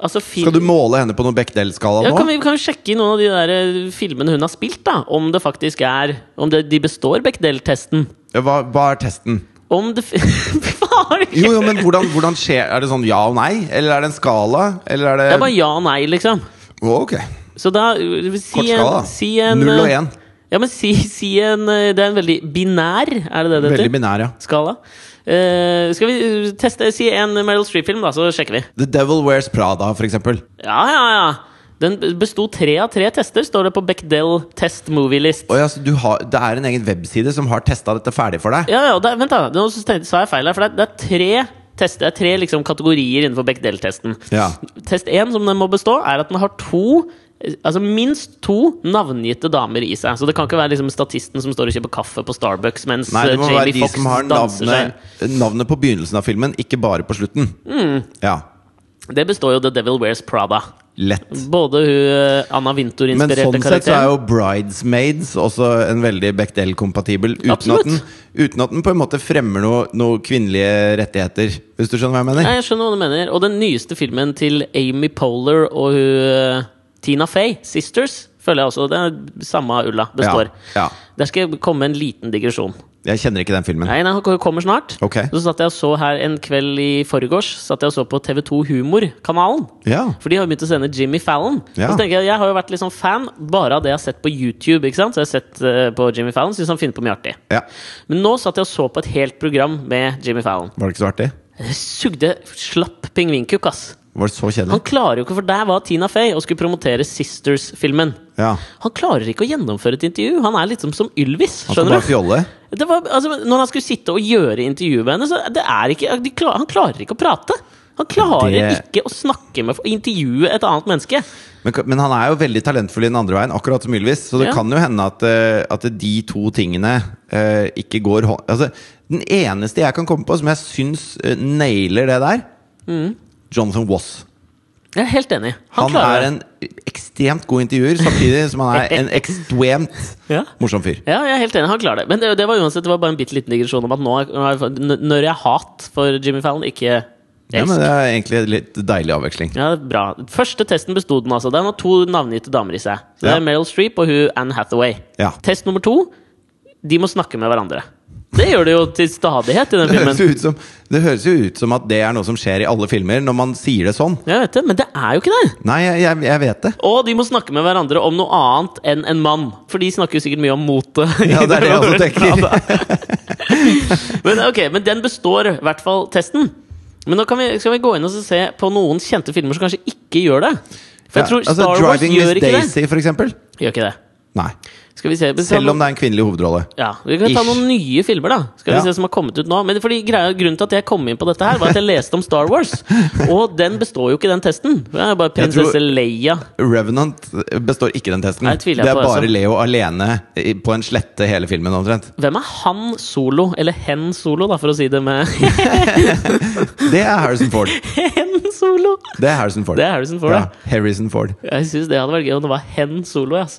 S2: altså, film,
S1: Skal du måle henne på noen Bechdel-skala
S2: ja,
S1: nå?
S2: kan vi kan vi sjekke i noen av de der eh, filmene hun har spilt, da? Om det faktisk er Om det, de består Bechdel-testen?
S1: Hva, hva er testen?
S2: Om det fi- Hva har du
S1: Jo, jo, men hvordan, hvordan skjer Er det sånn ja og nei? Eller er det en skala? Eller er det
S2: Det er bare ja og nei, liksom.
S1: Å, ok.
S2: Så da uh, si
S1: Kort
S2: en,
S1: skala, da.
S2: si en,
S1: Null og
S2: uh,
S1: én.
S2: Ja, men si, si en uh, Det er en veldig binær, er det det det
S1: Veldig
S2: heter?
S1: binær, ja.
S2: Skala. Uh, skal vi uh, teste Si en Meryl Streep-film, da, så sjekker vi.
S1: The Devil Wears Prada, for eksempel.
S2: Ja, ja, ja. Den besto tre av tre tester, står det på Bechdel Test Movie List.
S1: Å ja, så du har, det er en egen webside som har testa dette ferdig for deg?
S2: Ja, ja, det, er- vent da, nå så tenkte, sa jeg feil her, for det er, det er tre test, det er tre liksom, kategorier innenfor Bechdel-testen.
S1: Ja.
S2: Test én, som den må bestå, er at den har to eh, Altså minst to navngitte damer i seg. Så det kan ikke være liksom statisten som står og kjøper kaffe på Starbucks mens
S1: Nei, det må
S2: eh,
S1: være
S2: Jamie
S1: de
S2: Fox
S1: som har
S2: danser
S1: navnet, navnet på begynnelsen av filmen, ikke bare på slutten.
S2: Mm.
S1: Ja.
S2: seg. Det består jo The Devil Wears Prada.
S1: Lett.
S2: Både hun eh, Anna
S1: Men
S2: Wintour-inspirerte
S1: sånn sett så er
S2: karakteren.
S1: jo Bridesmaids også en veldig Bechdel-kompatibel. Uten, at
S2: Absolutt.
S1: den- uten at den på en måte fremmer noe, noe kvinnelige rettigheter, hvis du skjønner hva jeg mener?
S2: Nei, jeg skjønner hva du mener. Og den nyeste filmen til Amy Polar og hun eh, Tina Fey, Sisters, føler jeg også. Det er samme ulla består.
S1: Ja, ja.
S2: Der skal jeg komme med en liten digresjon.
S1: Jeg kjenner ikke den filmen.
S2: Nei, den kommer snart.
S1: Ok.
S2: Så satt jeg og så her en kveld i forgårs Satt jeg og så på TV2 Humor-kanalen.
S1: Ja.
S2: For de har jo begynt å sende Jimmy Fallon.
S1: Ja.
S2: Og så tenker Jeg jeg har jo vært litt sånn fan bare av det jeg har sett på YouTube. ikke sant? Så jeg har sett eh, på Jimmy Fallon, synes han finner på mye artig.
S1: ja.
S2: Men nå satt jeg og så på et helt program med Jimmy Fallon.
S1: Var det ikke så artig?
S2: Det sugde slapp pingvinkukk, ass.
S1: Var det så
S2: Han
S1: kjedelig?
S2: klarer jo ikke, for der var Tina Fey og skulle promotere Sisters-filmen.
S1: Ja.
S2: Han klarer ikke å gjennomføre et intervju. Han er litt som, som Ylvis.
S1: Han skal
S2: skjønner
S1: bare
S2: du?
S1: fjolle.
S2: Det var, altså, når han skulle sitte og gjøre intervjuet med henne, så det er ikke, de klar, han klarer ikke å prate. Han klarer
S1: Det-
S2: ikke å snakke med, intervjue et annet menneske.
S1: Men, men han er jo veldig talentfull i den andre veien, akkurat som Ylvis. Så det
S2: Ja.
S1: kan jo hende at, eh, at de to tingene eh, ikke går hånd Altså, den eneste jeg kan komme på som jeg syns eh, nailer det der,
S2: Mm.
S1: Jonathan Wass.
S2: Jeg er helt enig. Han,
S1: Han,
S2: klarer
S1: er
S2: det.
S1: en ekstremt god intervjuer, samtidig som han er en ekstremt
S2: Ja.
S1: morsom fyr.
S2: Ja, jeg er helt enig. Han klarer det. Men det, det var uansett det var bare en bitte liten digresjon om at nå, er- nå er, n- når jeg hat for Jimmy Fallon, ikke
S1: Ja, men
S2: elsk.
S1: det er egentlig en litt deilig avveksling.
S2: Ja, det er bra. Første testen bestod den, altså. Den har to navngitte damer i seg. Så det
S1: Ja.
S2: er Meryl Streep og hun Anne Hathaway.
S1: Ja.
S2: Test nummer to de må snakke med hverandre. Det gjør de jo til stadighet i den
S1: Det høres,
S2: filmen.
S1: jo ut som, det høres jo ut som at det er noe som skjer i alle filmer, når man sier det sånn.
S2: Jeg vet det, men det er jo ikke det!
S1: Nei, jeg, jeg, jeg vet det.
S2: Og de må snakke med hverandre om noe annet enn en mann. For de snakker jo sikkert mye om mote. i
S1: Ja, det er det jeg også tenker.
S2: Ja, da. men ok, men den består, i hvert fall testen. Men nå kan vi, skal vi gå inn og så se på noen kjente filmer som kanskje ikke gjør det. For jeg tror
S1: Ja, altså,
S2: Star Wars
S1: 'Driving Miss
S2: gjør ikke
S1: Daisy', for eksempel.
S2: det. Gjør ikke det.
S1: Nei.
S2: Skal vi se vi skal
S1: Selv
S2: ha
S1: om det er en kvinnelig hovedrolle.
S2: Ja, Vi kan ta
S1: Ish.
S2: noen nye filmer da Skal vi
S1: Ja.
S2: se som har kommet ut nå Men fordi greia, Grunnen til at jeg kom inn på dette, her var at jeg leste om Star Wars. Og den består jo ikke, den testen. Det er bare
S1: Jeg tror-
S2: prinsesse Leia.
S1: Revenant eh, består ikke den testen.
S2: Nei,
S1: Det er
S2: tviler jeg på,
S1: bare
S2: altså.
S1: Leo alene i- på en slette hele filmen, omtrent.
S2: Hvem er han solo? Eller hen solo, da, for å si det med
S1: Det er Harrison Ford.
S2: hen solo!
S1: Det er Harrison Ford.
S2: Det er Harrison Ford, ja.
S1: Harrison Ford.
S2: Jeg syns det hadde vært gøy om det var hen solo. Ass.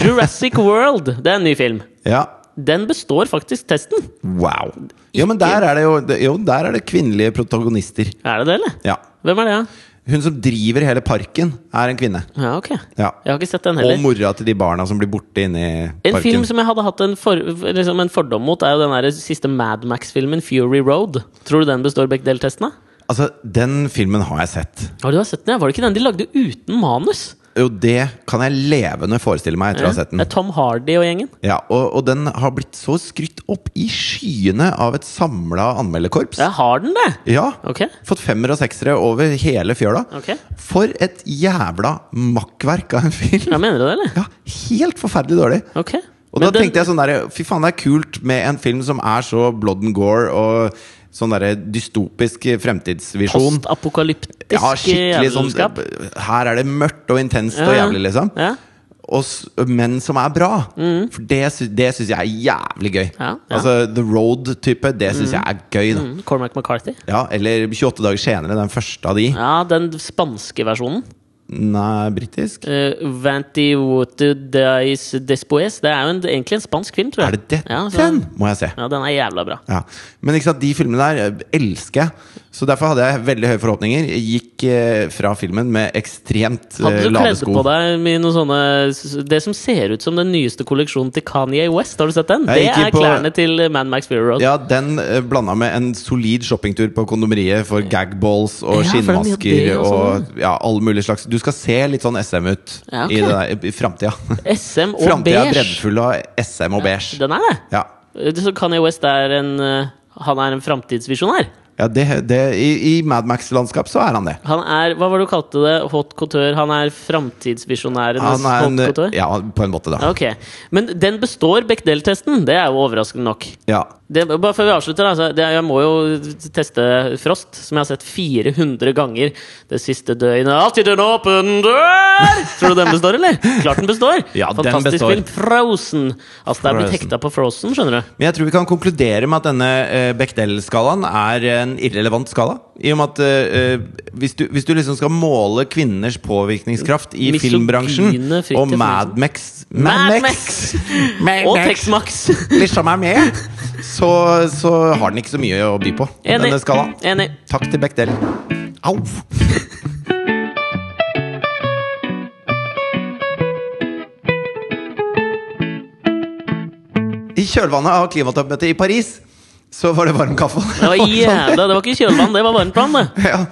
S2: Jurassic World, det er en ny film.
S1: Ja.
S2: Den består faktisk testen.
S1: Wow. Jo, men der er det jo det- Jo, der er det kvinnelige protagonister.
S2: Er det det, eller?
S1: Ja.
S2: Hvem er det, da?
S1: Hun som driver hele parken, er en kvinne.
S2: Ja, ok.
S1: Ja.
S2: Jeg har ikke sett den
S1: Og
S2: heller.
S1: mora til de barna som blir borte inni
S2: En film
S1: parken.
S2: som jeg hadde hatt en, for, liksom en fordom mot, er jo den der siste Mad Max-filmen, Fury Road. Tror du den består Bechdel-testen, da?
S1: Altså, den filmen har jeg sett.
S2: Ja, du har sett den, ja. Var det ikke den de lagde uten manus?
S1: Jo, det kan jeg levende forestille meg etter å ha sett den.
S2: Det er Tom Hardy og gjengen.
S1: Ja, og, og den har blitt så skrytt opp i skyene av et samla anmelderkorps.
S2: Ja, har den det?
S1: Ja.
S2: Ok.
S1: Fått femmer og seksere over hele fjøla.
S2: Ok.
S1: For et jævla makkverk av en film!
S2: Ja, mener du det, eller?
S1: Ja, helt forferdelig dårlig.
S2: Ok.
S1: Og da tenkte jeg sånn der, fy faen, det er kult med en film som er så blood and gore og sånn derre dystopisk fremtidsvisjon.
S2: Postapokalyptisk
S1: Ja, skikkelig sånn
S2: jævelskap.
S1: Her er det mørkt og intenst og
S2: eh, Ja.
S1: jævlig, liksom.
S2: Ja. Mm.
S1: og, s- men som er bra. For det, sy- det syns jeg er jævlig gøy.
S2: Ja, ja.
S1: Altså The Road-type, det syns jeg er gøy. Da.
S2: Mm, Cormac McCarthy.
S1: Ja, Eller 28 dager senere, den første av de.
S2: Ja, den spanske versjonen.
S1: Nei, britisk?
S2: Uh, Vanti Wotu Dais Despoes. Det er jo en, egentlig en spansk film, tror
S1: Er
S2: jeg.
S1: det det?
S2: Ja, altså. så-
S1: den må jeg se.
S2: Ja, den er jævla bra.
S1: Ja. Men ikke sant, de filmene der eh, elsker jeg. Så derfor hadde jeg veldig høye forhåpninger. Jeg Gikk eh, fra filmen med ekstremt eh,
S2: Hadde du
S1: lave
S2: kledd
S1: sko.
S2: på deg med noen sånne s- Det som ser ut som den nyeste kolleksjonen til Kanye West, har du sett den?
S1: Jeg
S2: Det
S1: gikk inn
S2: er
S1: på-
S2: klærne til eh, Man Max Fury Road.
S1: Ja, Den eh, blanda med en solid shoppingtur på kondomeriet for gagballs og
S2: Ja, for det er mye av
S1: skinnmasker
S2: det også,
S1: og ja, alle mulige slags Du skal se litt sånn SM ut
S2: Ja, ok.
S1: i, det der, i framtida.
S2: SM og
S1: Framtida er
S2: beige.
S1: breddfull av SM og beige.
S2: Den er det.
S1: Ja,
S2: Så Kanye West er en eh, Han er en framtidsvisjonær.
S1: ja det, det, I, i Mad Max-landskap så er han det.
S2: Han er Hva var det du kalte det? Hot couture? Han er framtidsvisjonærenes
S1: Han er
S2: hot
S1: en, eh,
S2: couture?
S1: ja, på en måte, da.
S2: Ok, Men den består Bechdel-testen. Det er jo overraskende nok.
S1: Ja.
S2: Det, bare før vi avslutter, altså, det, jeg må jo teste Frost, som jeg har sett 400 ganger det siste døgnet. Alltid en åpen dør! Tror du den består, eller? Klart den består!
S1: Ja, den
S2: Fantastisk
S1: består.
S2: film. Frozen. Altså, det er blitt
S1: Frozen.
S2: hekta på Frozen, skjønner du.
S1: Men jeg tror vi kan konkludere med at denne eh, Bechdel-skalaen er en irrelevant skala. I og med at eh, eh, hvis, du, hvis du liksom skal måle kvinners påvirkningskraft i
S2: Misogyne
S1: filmbransjen og
S2: Fridtjof Nansen.
S1: Mad Max
S2: Mad Max!
S1: Mad
S2: Og
S1: Max.
S2: Tex-Max.
S1: liksom er med, så, så har den ikke så mye å by på.
S2: Enig.
S1: Denne skalaen.
S2: Enig.
S1: Takk til Bechdel. Au! kjølvannet av klimatoppmøtet i Paris, så var det varm kaffe. sånn.
S2: Det var jævla, det var ikke kjølvann, det var varmtvann, det.
S1: ja.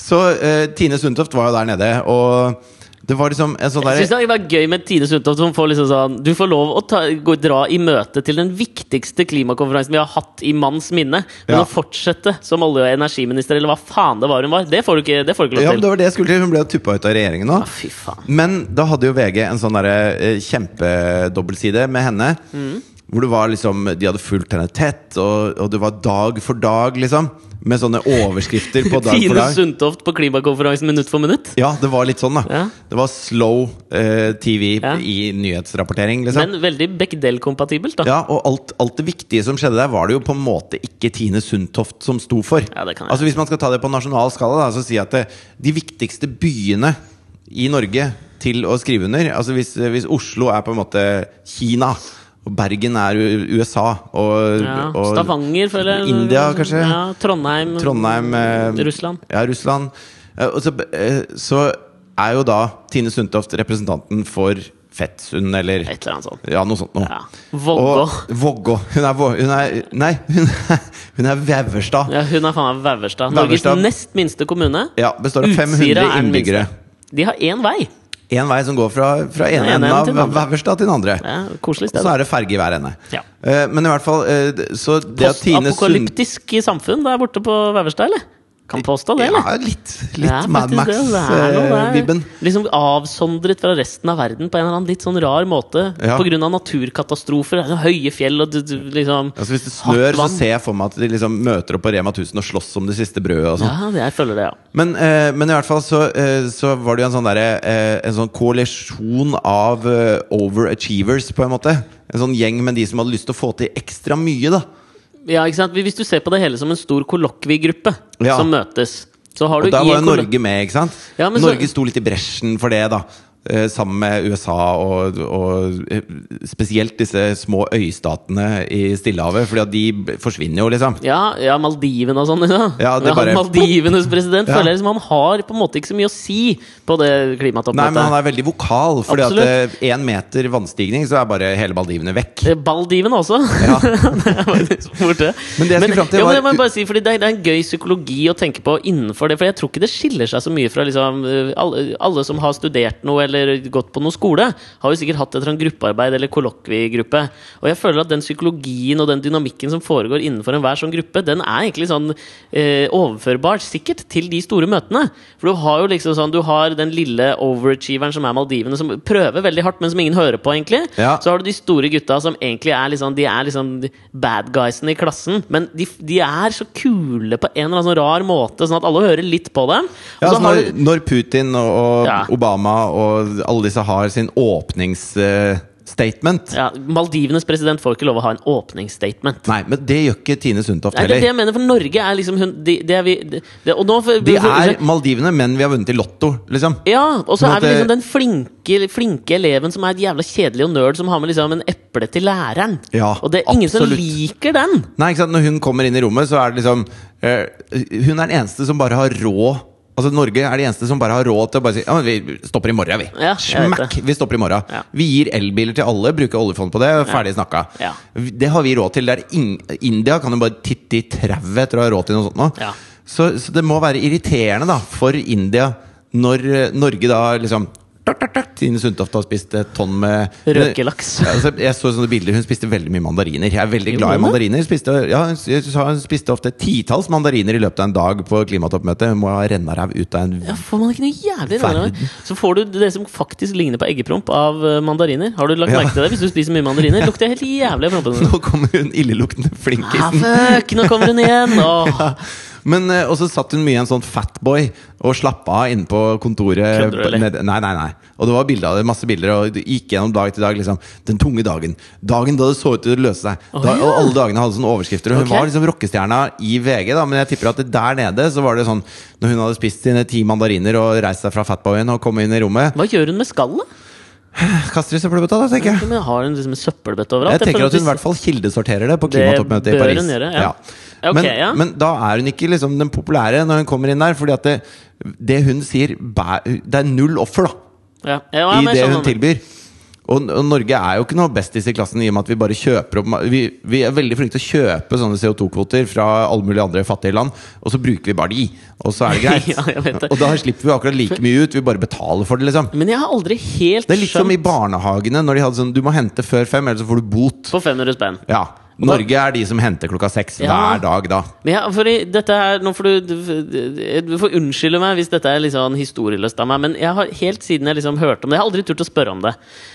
S1: Så eh, Tine Sundtoft var jo der nede, og det var liksom en sånn
S2: Jeg synes
S1: derre
S2: det var gøy med Tine Sundtoft som får liksom sånn Du får lov å ta, gå, dra i møte til den viktigste klimakonferansen vi har hatt i manns minne. Men
S1: Ja.
S2: å fortsette som olje- og energiminister, eller hva faen det var hun var, det får du ikke, det får du ikke
S1: ja,
S2: lov
S1: men
S2: til.
S1: det var det jeg skulle til. Hun ble jo tuppa ut av regjeringen nå.
S2: Ja, fy faen.
S1: Men da hadde jo VG en sånn derre, eh, kjempedobbeltside med henne. Hvor det var liksom, de hadde fulgt henne tett, og, og det var dag for dag, liksom. Med sånne overskrifter på dag for
S2: Tine
S1: dag.
S2: Sundtoft på klimakonferansen minutt for minutt.
S1: Ja, det var litt sånn, da.
S2: Ja.
S1: Det var slow eh, TV
S2: Ja.
S1: i nyhetsrapportering, liksom.
S2: Men veldig Bechdel-kompatibelt, da.
S1: ja, og alt, alt det viktige som skjedde der, var det jo på en måte ikke Tine Sundtoft som sto for.
S2: Ja, det kan jeg.
S1: altså Hvis man skal ta det på nasjonal skala, da, så si at det, de viktigste byene i Norge til å skrive under Altså Hvis, hvis Oslo er på en måte Kina, og Bergen er U- USA, og,
S2: Ja.
S1: og
S2: Stavanger, føler jeg.
S1: India, kanskje?
S2: Ja, Trondheim.
S1: Trondheim eh,
S2: Russland.
S1: Ja, Russland. Eh, og så, eh, så er jo da Tine Sundtoft representanten for Fettsund, eller
S2: Et eller annet sånt.
S1: ja, noe sånt noe.
S2: Ja. Vågå.
S1: Og- Vågå. Hun er, Vå- hun er Nei, hun er, hun er Veverstad.
S2: Ja, hun er faen meg Veverstad. Norges
S1: Veverstad.
S2: nest minste kommune.
S1: Ja, består av
S2: Utsira
S1: 500
S2: er den
S1: innbyggere.
S2: minste. De har én vei.
S1: Én vei som går fra, fra ene
S2: Den ene
S1: enden av
S2: til den andre.
S1: Veverstad til den andre.
S2: Ja, koselig
S1: Og
S2: sted.
S1: så er det ferge i hver ende.
S2: Ja.
S1: Eh, Men i hvert fall eh, d- Så det at Tine Sund...
S2: Postapokalyptisk samfunn der borte på Veverstad, eller? Kan påstå det, eller?
S1: Ja, litt, litt
S2: Ja, faktisk
S1: Mad eh,
S2: det. Det er noe der.
S1: Max-vibben.
S2: Liksom avsondret fra resten av verden på en eller annen litt sånn rar måte.
S1: Ja.
S2: På grunn av naturkatastrofer, altså, høye fjell og du- du- liksom
S1: Altså Hvis det
S2: hardt
S1: snør, så
S2: vann.
S1: ser jeg for meg at de liksom møter opp på Rema 1000 og slåss om det siste brødet. og sånn
S2: Ja, det, jeg føler det, ja.
S1: Men, eh, men i hvert fall så, eh, så var det jo en sånn, derre, eh, en sånn koalisjon av eh, overachievers, på en måte. En sånn gjeng med de som hadde lyst til å få til ekstra mye, da.
S2: ja ikke sant? Hvis du ser på det hele som en stor kollokviegruppe
S1: Ja.
S2: som møtes, så har du
S1: Og da
S2: i
S1: var
S2: en
S1: jo
S2: koll-
S1: Norge med, ikke sant?
S2: Ja, men så-
S1: Norge sto litt i bresjen for det, da. Eh, Sammen med USA og, og eh, spesielt disse små øystatene i Stillehavet. Fordi at de b- forsvinner jo, liksom.
S2: Ja, ja Maldivene og sånn. Ja.
S1: Ja, det
S2: Men
S1: bare-
S2: han Maldivenes president
S1: Ja.
S2: føler jeg liksom han har på en måte ikke så mye å si på det
S1: Nei, men han
S2: klimatoppmøtet.
S1: er veldig vokal. Fordi at én meter vannstigning, så er bare hele Maldivene vekk.
S2: Eh, Baldivene også.
S1: Ja.
S2: Det er faktisk borte.
S1: Men det jeg skulle fram til
S2: ja, men
S1: var-
S2: jeg må bare si, fordi det, er, det er en gøy psykologi å tenke på innenfor det. For jeg tror ikke det skiller seg så mye fra liksom, eh, alle, alle som har studert noe eller gått på noe skole, har jo sikkert hatt et eller annet gruppearbeid eller kollokviegruppe. Og jeg føler at den psykologien og den dynamikken som foregår innenfor enhver sånn gruppe, den er egentlig sånn eh, overførbar sikkert til de store møtene. For du har jo liksom sånn, du har den lille overachieveren som er Maldivene, som prøver veldig hardt, men som ingen hører på, egentlig.
S1: Ja.
S2: Så har du de store gutta som egentlig er liksom, de er liksom bad guysene i klassen. Men de, de er så kule på en eller annen sånn rar måte, sånn at alle hører litt på dem. Og
S1: Ja, altså
S2: så har
S1: når,
S2: du
S1: når Putin og, og
S2: Ja.
S1: Obama og alle disse har sin åpningsstatement
S2: ja, Maldivenes president får ikke lov å ha en åpningsstatement.
S1: Nei, men det gjør ikke Tine Sundtoft
S2: Nei, det er det
S1: heller.
S2: jeg mener, for Norge er liksom hun de, det er vi, det, Og nå for,
S1: De er Maldivene, men vi har vunnet i Lotto, liksom.
S2: Ja, og så
S1: Sånn
S2: er
S1: at
S2: vi
S1: det-
S2: liksom den flinke, flinke eleven som er et jævla kjedelig og nerd, som har med liksom en eple til læreren.
S1: Ja,
S2: og det er ingen
S1: absolutt.
S2: som liker den!
S1: Nei, ikke sant? Når hun kommer inn i rommet, så er det liksom eh, Hun er den eneste som bare har råd Altså Norge er de eneste som bare har råd til å bare si Ja, men vi stopper i morgen, vi.
S2: Ja, jeg vet
S1: Smack! Vi stopper i morgen.
S2: Ja.
S1: Vi gir elbiler til alle, bruker oljefond på det, ferdig snakka.
S2: Ja.
S1: Det har vi råd til. Det er ing- India kan jo bare titte i trauet etter å ha råd til noe sånt nå.
S2: Ja.
S1: Så, så det må være irriterende da for India når eh, Norge da liksom tak, tak, tak, Tine Sundtoft har spist et tonn med
S2: Røkelaks.
S1: Ja, altså, jeg så sånne bilder Hun spiste veldig mye mandariner. Jeg er veldig glad i
S2: Gjorde hun
S1: mandariner. Spiste, ja, hun s- jeg sa hun spiste ofte titalls mandariner i løpet av en dag på klimatoppmøtet. Hun må ha rennaræv ut av en
S2: Ja, får man ikke noe jævlig rare
S1: Verden.
S2: Så får du det som faktisk ligner på eggepromp av eh, mandariner. Har du lagt
S1: Ja.
S2: merke til det? Hvis du spiser mye mandariner, lukter det helt jævlig av prompene. dine.
S1: Nå kommer hun illeluktende flinkisen.
S2: Ah, fuck, nå kommer hun igjen! Åh.
S1: Men, eh, og så satt hun mye i en sånn fatboy og slappa av inne på kontoret.
S2: Kødder du, eller?
S1: Ned- nei, nei, nei. Og det var bilder, av det, masse bilder, og det gikk gjennom dag til dag. liksom Den tunge dagen. Dagen da det så ut til å løse seg. Da,
S2: ja.
S1: Og alle dagene hadde sånne overskrifter. Og hun
S2: Ok.
S1: var liksom rockestjerna i VG, da men jeg tipper at det der nede så var det sånn Når hun hadde spist sine ti mandariner og reist seg fra fatboyen og kom inn i rommet
S2: Hva gjør hun med skallet?
S1: Kaster i søppelbøtta, da, tenker jeg.
S2: Men har hun liksom en søppelbøtte overalt?
S1: Jeg tenker
S2: føler
S1: at hun i
S2: hvis-
S1: hvert fall kildesorterer det på
S2: Det
S1: klimatoppmøtet i
S2: bør
S1: Paris.
S2: hun gjøre, ja. Ok,
S1: men,
S2: ja.
S1: men da er hun ikke liksom den populære når hun kommer inn der, fordi at det, det hun sier bæ- Det er null offer, da,
S2: ja. Ja, ja, men
S1: i
S2: jeg
S1: det
S2: sånn skjønner
S1: hun
S2: hva du mener.
S1: tilbyr. Og, og Norge er jo ikke noe bestis i klassen i og med at vi bare kjøper opp ma- Vi, vi er veldig flinke til å kjøpe sånne CO2-kvoter fra alle mulige andre fattige land, og så bruker vi bare de, og så er det greit.
S2: Ja, jeg vet det.
S1: Og da slipper vi akkurat like mye ut, vi bare betaler for det, liksom.
S2: Men jeg har aldri helt
S1: Det er litt som i
S2: skjønt
S1: barnehagene, når de hadde sånn Du må hente før fem, ellers så får du bot.
S2: på 500 spenn.
S1: Ja. Norge er de som henter klokka seks
S2: Ja.
S1: hver dag, da.
S2: Men ja, for i- dette her, nå får du, du, du får unnskylde meg hvis dette er litt sånn historieløst av meg, men jeg har helt siden jeg liksom hørte om det Jeg har aldri turt å spørre om det.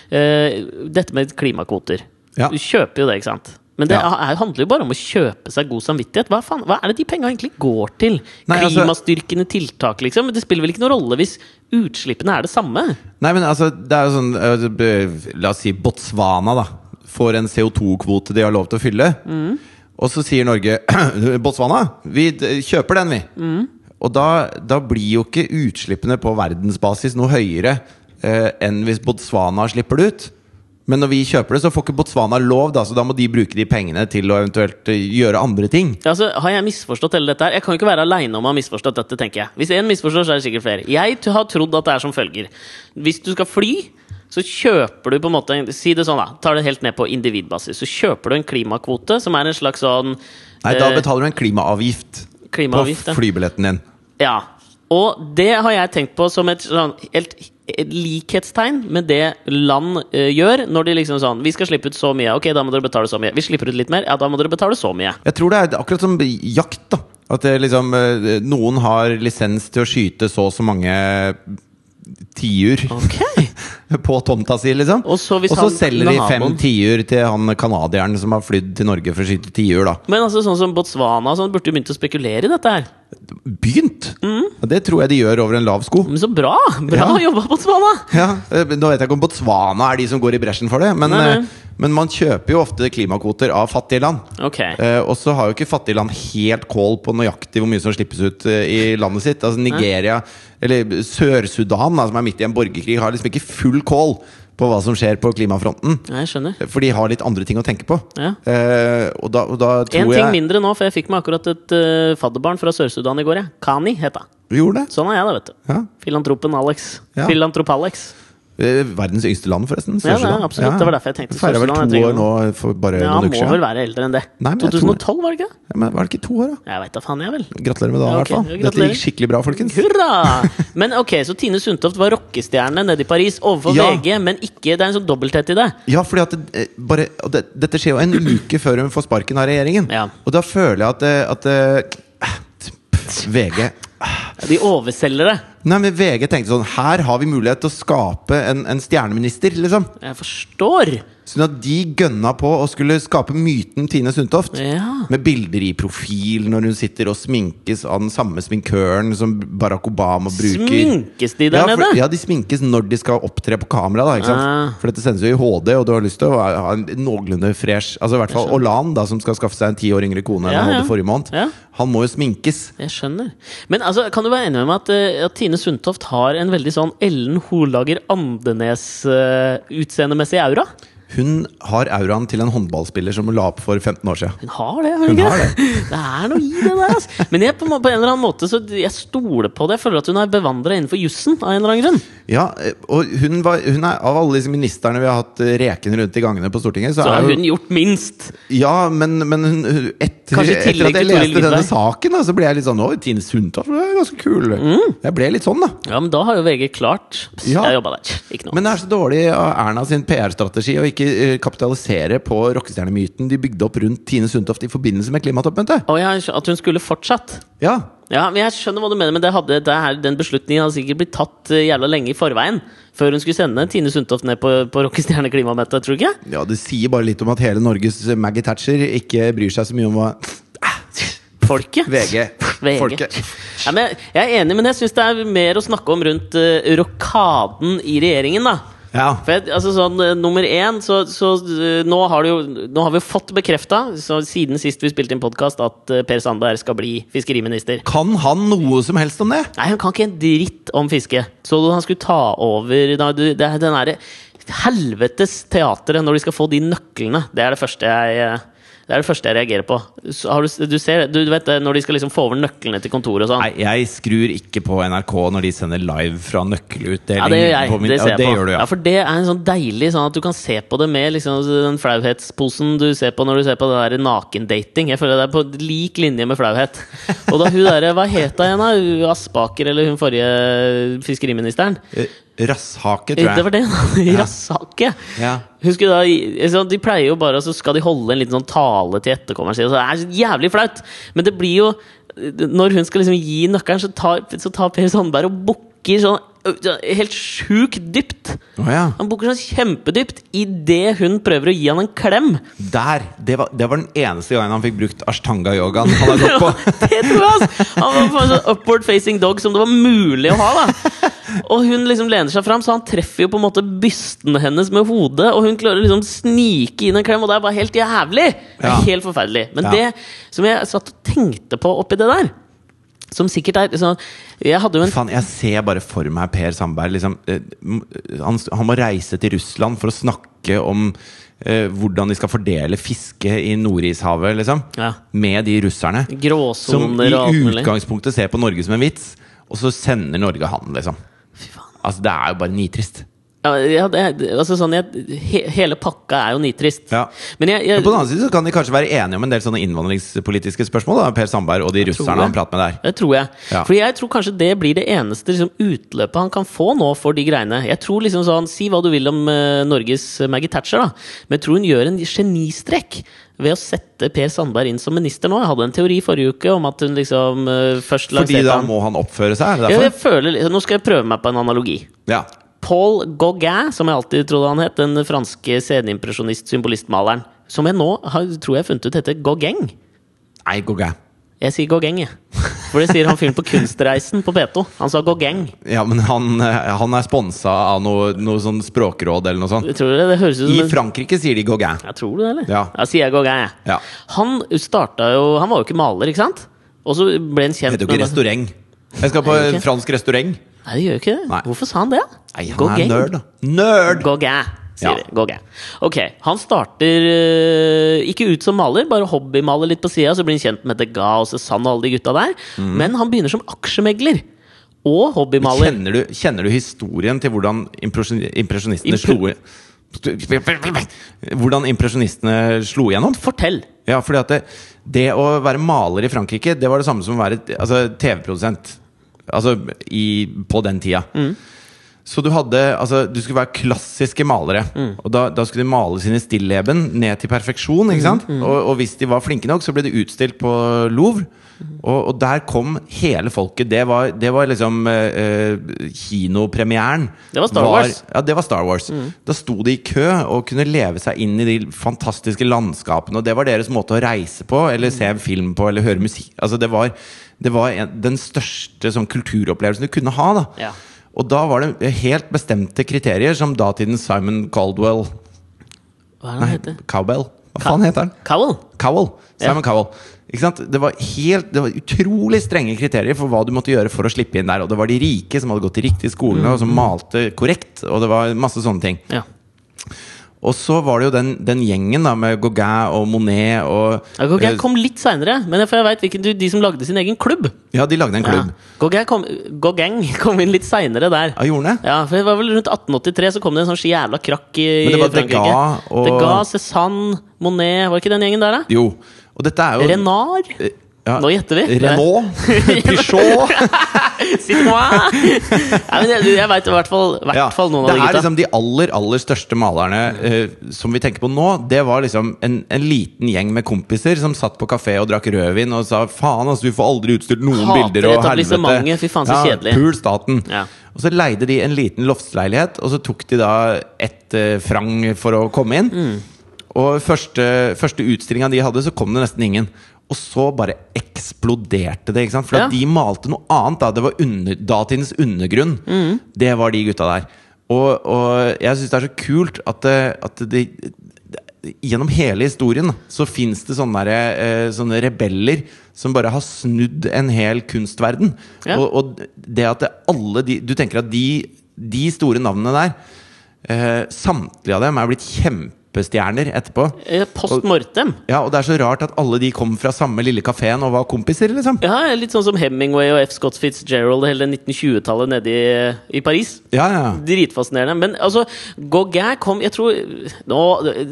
S2: Eh, dette med klimakvoter.
S1: Ja.
S2: Du kjøper jo det, ikke sant? Men det
S1: Ja.
S2: er, handler jo bare om å kjøpe seg god samvittighet. Hva, faen, hva er det de penga egentlig går til?
S1: Nei, altså-
S2: Klimastyrkende tiltak, liksom? Det spiller vel ikke noen rolle hvis utslippene er det samme?
S1: Nei, men altså, det er jo sånn øh, b- La oss si Botswana, da. Får en CO2-kvote de har lov til å fylle.
S2: Mm.
S1: Og så sier Norge Botswana, vi d- kjøper den, vi.
S2: Mm.
S1: Og da, da blir jo ikke utslippene på verdensbasis noe høyere eh, enn hvis Botswana slipper det ut. Men når vi kjøper det, så får ikke Botswana lov, da, så da må de bruke de pengene til å eventuelt eh, gjøre andre ting.
S2: Ja, Altså, har jeg misforstått hele dette her? Jeg kan jo ikke være aleine om å ha misforstått dette, tenker jeg. Hvis én misforstår, så er det sikkert flere. Jeg t- har trodd at det er som følger. Hvis du skal fly, så kjøper du på en måte en- Si det sånn, da. Tar det helt ned på individbasis. Så kjøper du en klimakvote, som er en slags sånn
S1: Nei, da
S2: eh,
S1: betaler du en klimaavgift,
S2: klimaavgift, ja.
S1: på flybilletten din.
S2: Ja. Og det har jeg tenkt på som et sånn helt et likhetstegn med det land eh, gjør når de liksom sånn Vi skal slippe ut så mye. Ok, da må dere betale så mye. Vi slipper ut litt mer. Ja, da må dere betale så mye.
S1: Jeg tror det er akkurat som jakt, da. At det liksom, eh, noen har lisens til å skyte så og så mange tiur
S2: Ok
S1: på tomta si, liksom.
S2: Og så hvis han-
S1: selger de fem
S2: naboen-
S1: tiur til han canadieren som har flydd til Norge for å skyte tiur, da.
S2: Men altså sånn som Botswana og sånn, burde jo begynt å spekulere i dette her.
S1: Begynt!
S2: Mm.
S1: Og Det tror jeg de gjør over en lav sko.
S2: Men så bra! Bra
S1: Ja.
S2: jobba, Botswana!
S1: Ja, eh, Nå vet jeg ikke om Botswana er de som går i bresjen for det, men,
S2: Nei, nei.
S1: eh, men man kjøper jo ofte klimakvoter av fattige land.
S2: Ok.
S1: Eh, og så har jo ikke fattige land helt kål på nøyaktig hvor mye som slippes ut eh, i landet sitt. Altså Nigeria, eller Sør-Sudan, da, som er midt i en borgerkrig, har liksom ikke full kål på hva som skjer på klimafronten.
S2: Ja, jeg skjønner.
S1: For de har litt andre ting å tenke på.
S2: Ja.
S1: Eh, og, da, og da
S2: En
S1: tror
S2: ting
S1: jeg
S2: mindre nå, for jeg fikk meg akkurat et eh, fadderbarn fra Sør-Sudan i går. Jeg. Kani het hun.
S1: Vi gjorde det.
S2: Sånn er jeg, da, vet du.
S1: Ja.
S2: Filantropen Alex.
S1: Ja.
S2: Filantrop-Alex.
S1: Eh, Verdens yngste land, forresten.
S2: Ja, det er
S1: Sør-Sudan.
S2: absolutt. Det var derfor jeg tenkte
S1: Feirer vel
S2: Sør-Sudan,
S1: to
S2: jeg tenker
S1: år nå for bare
S2: Ja, han
S1: noen
S2: må
S1: uker siden.
S2: vel være eldre enn det.
S1: Nei, men jeg tror det.
S2: 2012, var det ikke det?
S1: Ja, men var det ikke to år, da?
S2: Jeg veit da faen, jeg, vel.
S1: Gratulerer med dagen, i
S2: Ja, ok.
S1: hvert
S2: Ja,
S1: fall. Dette
S2: gratulerer.
S1: gikk skikkelig bra, folkens.
S2: Hurra! Men ok, så Tine Sundtoft var rockestjerne nede i Paris overfor
S1: Ja.
S2: VG, men ikke Det er en sånn dobbelthet i det.
S1: Ja, fordi at det, eh, bare, og det, Dette skjer jo en uke før hun får sparken av regjeringen.
S2: Ja.
S1: Og da føler jeg at, eh, at eh, VG
S2: De overselger det.
S1: Nei, men VG tenkte sånn Her har vi mulighet til å skape en, en stjerneminister, liksom.
S2: Jeg forstår.
S1: Sånn at de gønna på å skulle skape myten Tine Sundtoft.
S2: Ja.
S1: Med bilder i profil når hun sitter og sminkes av den samme sminkøren som Barack Obama bruker.
S2: Sminkes de der
S1: ja, for,
S2: nede?
S1: Ja, de sminkes når de skal opptre på kamera. Da, ikke sant?
S2: Ah.
S1: For dette sendes jo i HD, og du har lyst til å ha en noenlunde fresh Altså i hvert fall Olan, da, som skal skaffe seg en ti år yngre kone enn
S2: Ja,
S1: han
S2: ja.
S1: hadde forrige måned.
S2: Ja.
S1: Han må jo sminkes.
S2: Jeg skjønner. Men altså, kan du være enig med meg at, eh, at Tine Sundtoft har en veldig sånn Ellen Holager Andenes-utseendemessig aura?
S1: Hun har auraen til en håndballspiller som hun la opp for 15 år siden.
S2: Hun har det, har hun,
S1: Hun
S2: ikke?
S1: har det.
S2: det er noe i det der, altså. Men jeg, på, en må- på en eller annen måte så jeg stoler på det. Jeg føler at hun er bevandra innenfor jussen av en eller annen grunn.
S1: Ja, eh, og hun, var, hun er Av alle disse ministrene vi har hatt eh, rekende rundt i gangene på Stortinget, så,
S2: Så har
S1: er jo
S2: hun gjort minst.
S1: Ja, men, men hun- hun- etter,
S2: Kanskje i
S1: etter
S2: tillegg
S1: at jeg
S2: til Toril
S1: leste denne
S2: Vidvei.
S1: saken, da, så ble jeg litt sånn Å, Tine Sundtoft hun er ganske kul.
S2: Mm.
S1: Jeg ble litt sånn, da.
S2: Ja, men da har jo VG klart Pss,
S1: Ja.
S2: Jeg jobba der. Ikke noe.
S1: Men det er så dårlig av Erna sin PR-strategi å ikke eh, kapitalisere på rockestjernemyten de bygde opp rundt Tine Sundtoft i forbindelse med klimatoppmøtet.
S2: Og jeg, at hun skulle fortsatt.
S1: Ja,
S2: Ja, men jeg skjønner hva du mener, men det hadde, det her, den beslutningen hadde sikkert blitt tatt eh, jævla lenge i forveien. Før hun skulle sende Tine Sundtoft ned på, på Rockestjerne klimamøte, tror du ikke?
S1: ja, det sier bare litt om at hele Norges eh, Maggie Thatcher ikke bryr seg så mye om hva
S2: Folket.
S1: VG.
S2: VG.
S1: Folket.
S2: Ja, men jeg, jeg er enig, men jeg syns det er mer å snakke om rundt eh, rokaden i regjeringen, da.
S1: Ja.
S2: For jeg, altså sånn, eh, Nummer én så, så eh, nå, har det jo, nå har vi jo fått bekrefta, siden sist vi spilte inn podkast, at eh, Per Sandberg skal bli fiskeriminister.
S1: Kan han noe som helst om det?
S2: Nei, han kan ikke en dritt om fiske. Så du han skulle ta over da, du, det, er Den derre helvetes teateret når de skal få de nøklene. Det er det første jeg eh, Det er det første jeg reagerer på. Så Har du, du, ser, du vet det, når de skal liksom få over nøklene til kontoret og sånn.
S1: Nei, jeg skrur ikke på NRK når de sender live fra nøkkelutdeling.
S2: Ja, det gjør jeg.
S1: på min-
S2: det
S1: ja,
S2: ser jeg
S1: det
S2: på.
S1: gjør du, ja.
S2: for det er en sånn deilig sånn at du kan se på det med liksom, den flauhetsposen du ser på når du ser på det der nakendating. Jeg føler det er på lik linje med flauhet. Og da hun derre Hva het hun igjen, da? Hun Aspaker, eller hun forrige fiskeriministeren?
S1: Eh, Rasshake, tror jeg.
S2: Det var det,
S1: Ja.
S2: Rasshakke.
S1: Ja.
S2: Husker du da, i- sånn, De pleier jo bare, så skal de holde en liten sånn tale til etterkommeren sin. og så er Det er så jævlig flaut! Men det blir jo Når hun skal liksom gi nøkkelen, så tar, så tar Per Sandberg og bukker sånn øh, helt sjukt dypt.
S1: Å, ja.
S2: Han bukker sånn kjempedypt idet hun prøver å gi han en klem.
S1: Der! Det var, det var den eneste gangen han fikk brukt ashtanga-yogaen han har gått på.
S2: det tror jeg, ass! Han var på en sånn upward facing dog som det var mulig å ha, da. Og hun liksom lener seg fram, så han treffer jo på en måte bysten hennes med hodet, og hun klarer liksom snike inn en klem, og det er bare helt jævlig! Det
S1: Ja.
S2: er helt forferdelig. Men
S1: Ja.
S2: det som jeg satt og tenkte på oppi det der, som sikkert er sånn Jeg hadde jo en
S1: Faen, jeg ser bare for meg Per Sandberg. Liksom, eh, m- han, han må reise til Russland for å snakke om eh, hvordan de skal fordele fiske i Nordishavet, liksom.
S2: Ja.
S1: Med de russerne. Som i
S2: gråsoner og alt mulig.
S1: utgangspunktet ser på Norge som en vits, og så sender Norge han, liksom.
S2: Fy faen.
S1: Altså, det er jo bare nitrist.
S2: Ja, ja, det, altså sånn, jeg, he, hele pakka er jo nitrist.
S1: Ja.
S2: Men jeg, jeg
S1: Men på den annen side så kan de kanskje være enige om en del sånne innvandringspolitiske spørsmål, da, Per Sandberg og de
S2: tror
S1: russerne
S2: det.
S1: han prater med der.
S2: Det tror jeg.
S1: Ja.
S2: Fordi jeg tror kanskje det blir det eneste liksom, utløpet han kan få nå for de greiene. Jeg tror liksom sånn, Si hva du vil om eh, Norges eh, Maggie Thatcher, da. men jeg tror hun gjør en genistrek ved å sette Per Sandberg inn som minister nå. Jeg hadde en teori forrige uke om at hun liksom eh, først
S1: Fordi
S2: lanserte
S1: da
S2: han
S1: må han oppføre seg, er det
S2: jeg, jeg
S1: derfor?
S2: føler, Nå skal jeg prøve meg på en analogi.
S1: Ja.
S2: Paul Gauguin, som jeg alltid trodde han het, den franske sceneimpresjonist-symbolistmaleren, som jeg nå har, tror jeg har funnet ut heter Gauguin.
S1: Nei, går ikke.
S2: Jeg sier Gauguin, jeg. For det sier han fyren på Kunstreisen på P2. Han sa Gauguin.
S1: Ja, men han, eh, han er sponsa av noe, noe sånn språkråd eller noe sånt.
S2: Tror du det? Det høres
S1: I
S2: ut som en
S1: Frankrike sier de Gauguin.
S2: ja, Tror du det, eller?
S1: Ja.
S2: sier jeg Gauguin, jeg.
S1: Ja.
S2: Han starta jo Han var jo ikke maler, ikke sant? Og så ble han kjent
S1: Heter jo ikke restaurant. Jeg skal på
S2: Er det ikke?
S1: en fransk restaurant.
S2: Nei, det gjør jo ikke det.
S1: Nei.
S2: Hvorfor sa han det?
S1: Nei, han
S2: Gauguin.
S1: er nerd, da. Nerd!
S2: Gauguin, sier
S1: Ja.
S2: vi. Gauguin. Ok, han starter eh, ikke ut som maler, bare hobbymaler litt på sida, så blir han kjent med Degas og Cézanne og alle de gutta der.
S1: Mhm.
S2: Men han begynner som aksjemegler. Og hobbymaler.
S1: Kjenner du, kjenner du historien til hvordan impresjon- impresjonistene slo
S2: Impre-
S1: Hvordan impresjonistene slo igjennom?
S2: Fortell!
S1: Ja, fordi at det, det å være maler i Frankrike, det var det samme som å være altså, TV-produsent. Altså i, på den tida.
S2: Mm.
S1: Så du hadde Altså, du skulle være klassiske malere.
S2: Mm.
S1: Og da, da skulle de male sine stilleben ned til perfeksjon.
S2: Mm.
S1: Ikke sant? Og, og hvis de var flinke nok, så ble de utstilt på Louvre.
S2: Mm.
S1: Og, og der kom hele folket. Det var, det var liksom eh, eh, kinopremieren.
S2: Det var Star Wars.
S1: Ja, det var Star Wars.
S2: Mm.
S1: Da sto de i kø og kunne leve seg inn i de fantastiske landskapene. Og det var deres måte å reise på, eller se en film på, eller høre musikk Altså Det var, det var en, den største sånn, kulturopplevelsen du kunne ha. da
S2: Ja.
S1: Og da var det helt bestemte kriterier, som datidens Simon Caldwell
S2: Hva er det han
S1: Nei,
S2: heter?
S1: Cowbell. Hva faen heter han?
S2: Cowell?
S1: Cowell. Simon Cowell. Ikke sant? Det var, helt, det var utrolig strenge kriterier for hva du måtte gjøre for å slippe inn der. Og det var de rike som hadde gått til riktige
S2: Mm.
S1: skolene, og som malte korrekt. Og det var masse sånne ting.
S2: Ja.
S1: Og så var det jo den, den gjengen da med Gauguin og Monet og
S2: Ja, Gauguin
S1: eh,
S2: kom litt seinere, men jeg- for jeg vet hvilken du, de som lagde sin egen klubb.
S1: Ja, de lagde en
S2: Ja.
S1: klubb.
S2: Gauguin kom, Gauguin kom inn litt seinere der.
S1: Ja, gjorde den det?
S2: Ja, for det var vel Rundt 1883 så kom det en sånn jævla krakk i
S1: Men det var
S2: Frankrike.
S1: Degas og-
S2: Degas, Cézanne, Monet Var det ikke den gjengen der, da?
S1: Jo. Og dette er jo
S2: Renard?
S1: Eh, ja.
S2: Nå gjetter vi.
S1: Renault. Peugeot.
S2: Citroën? Nei, men jeg, jeg veit i hvert fall, hvert
S1: Ja,
S2: fall noen av
S1: det
S2: de
S1: er
S2: gutta.
S1: liksom de aller aller største malerne eh, som vi tenker på nå. Det var liksom en, en liten gjeng med kompiser som satt på kafé og drakk rødvin og sa faen, altså, du får aldri utstilt noen
S2: Hater
S1: bilder og helvete.
S2: etablissementet, fy faen, så kjedelig.
S1: Pul staten.
S2: Ja.
S1: Og så leide de en liten loftsleilighet, og så tok de da ett eh, frang for å komme inn.
S2: Mm.
S1: Og første, første utstillinga de hadde, så kom det nesten ingen. Og så bare eksploderte det. ikke sant? For
S2: Ja.
S1: at de malte noe annet. da Det var under, datidens undergrunn. Det var de gutta der. Og, og jeg syns det er så kult at, det- at det, det- Gjennom hele historien da, så fins det sånne, der, eh, sånne rebeller som bare har snudd en hel kunstverden.
S2: Ja.
S1: Og, og det at det, alle de Du tenker at de, de store navnene der eh, Samtlige av dem er blitt kjempe kjempestjerner etterpå.
S2: Eh, Post mortem.
S1: Ja, Og det er så rart at alle de kom fra samme lille kafeen og var kompiser, liksom.
S2: Ja, litt sånn som Hemingway og F. Scott Fitzgerald hele 1920-tallet nede i, i Paris.
S1: Ja, ja.
S2: Dritfascinerende. Men altså, Gauguin kom jeg tror, nå,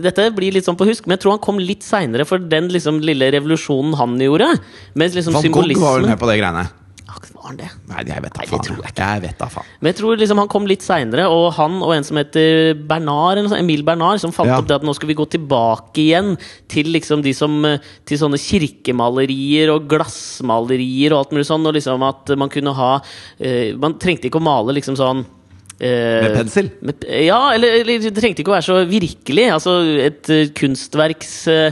S2: Dette blir litt sånn på husk, men jeg tror han kom litt seinere for den liksom, lille revolusjonen han gjorde. Mens liksom
S1: Van Gogh var vel
S2: symbolismen
S1: med på det greiene.
S2: Ah, var han det?
S1: Nei, jeg vet da
S2: Nei, det
S1: faen.
S2: tror jeg
S1: jeg. Jeg vet da faen.
S2: Men jeg tror liksom han kom litt seinere, og han og en som heter Bernard, eller noe sånt, Emil Bernard, som fant
S1: Ja.
S2: opp det at nå skal vi gå tilbake igjen til liksom de som eh, Til sånne kirkemalerier og glassmalerier og alt mulig sånn, og liksom at man kunne ha eh, Man trengte ikke å male liksom sånn eh,
S1: Med pensel?
S2: med- Ja, eller, eller det trengte ikke å være så virkelig. Altså, et eh, kunstverks eh,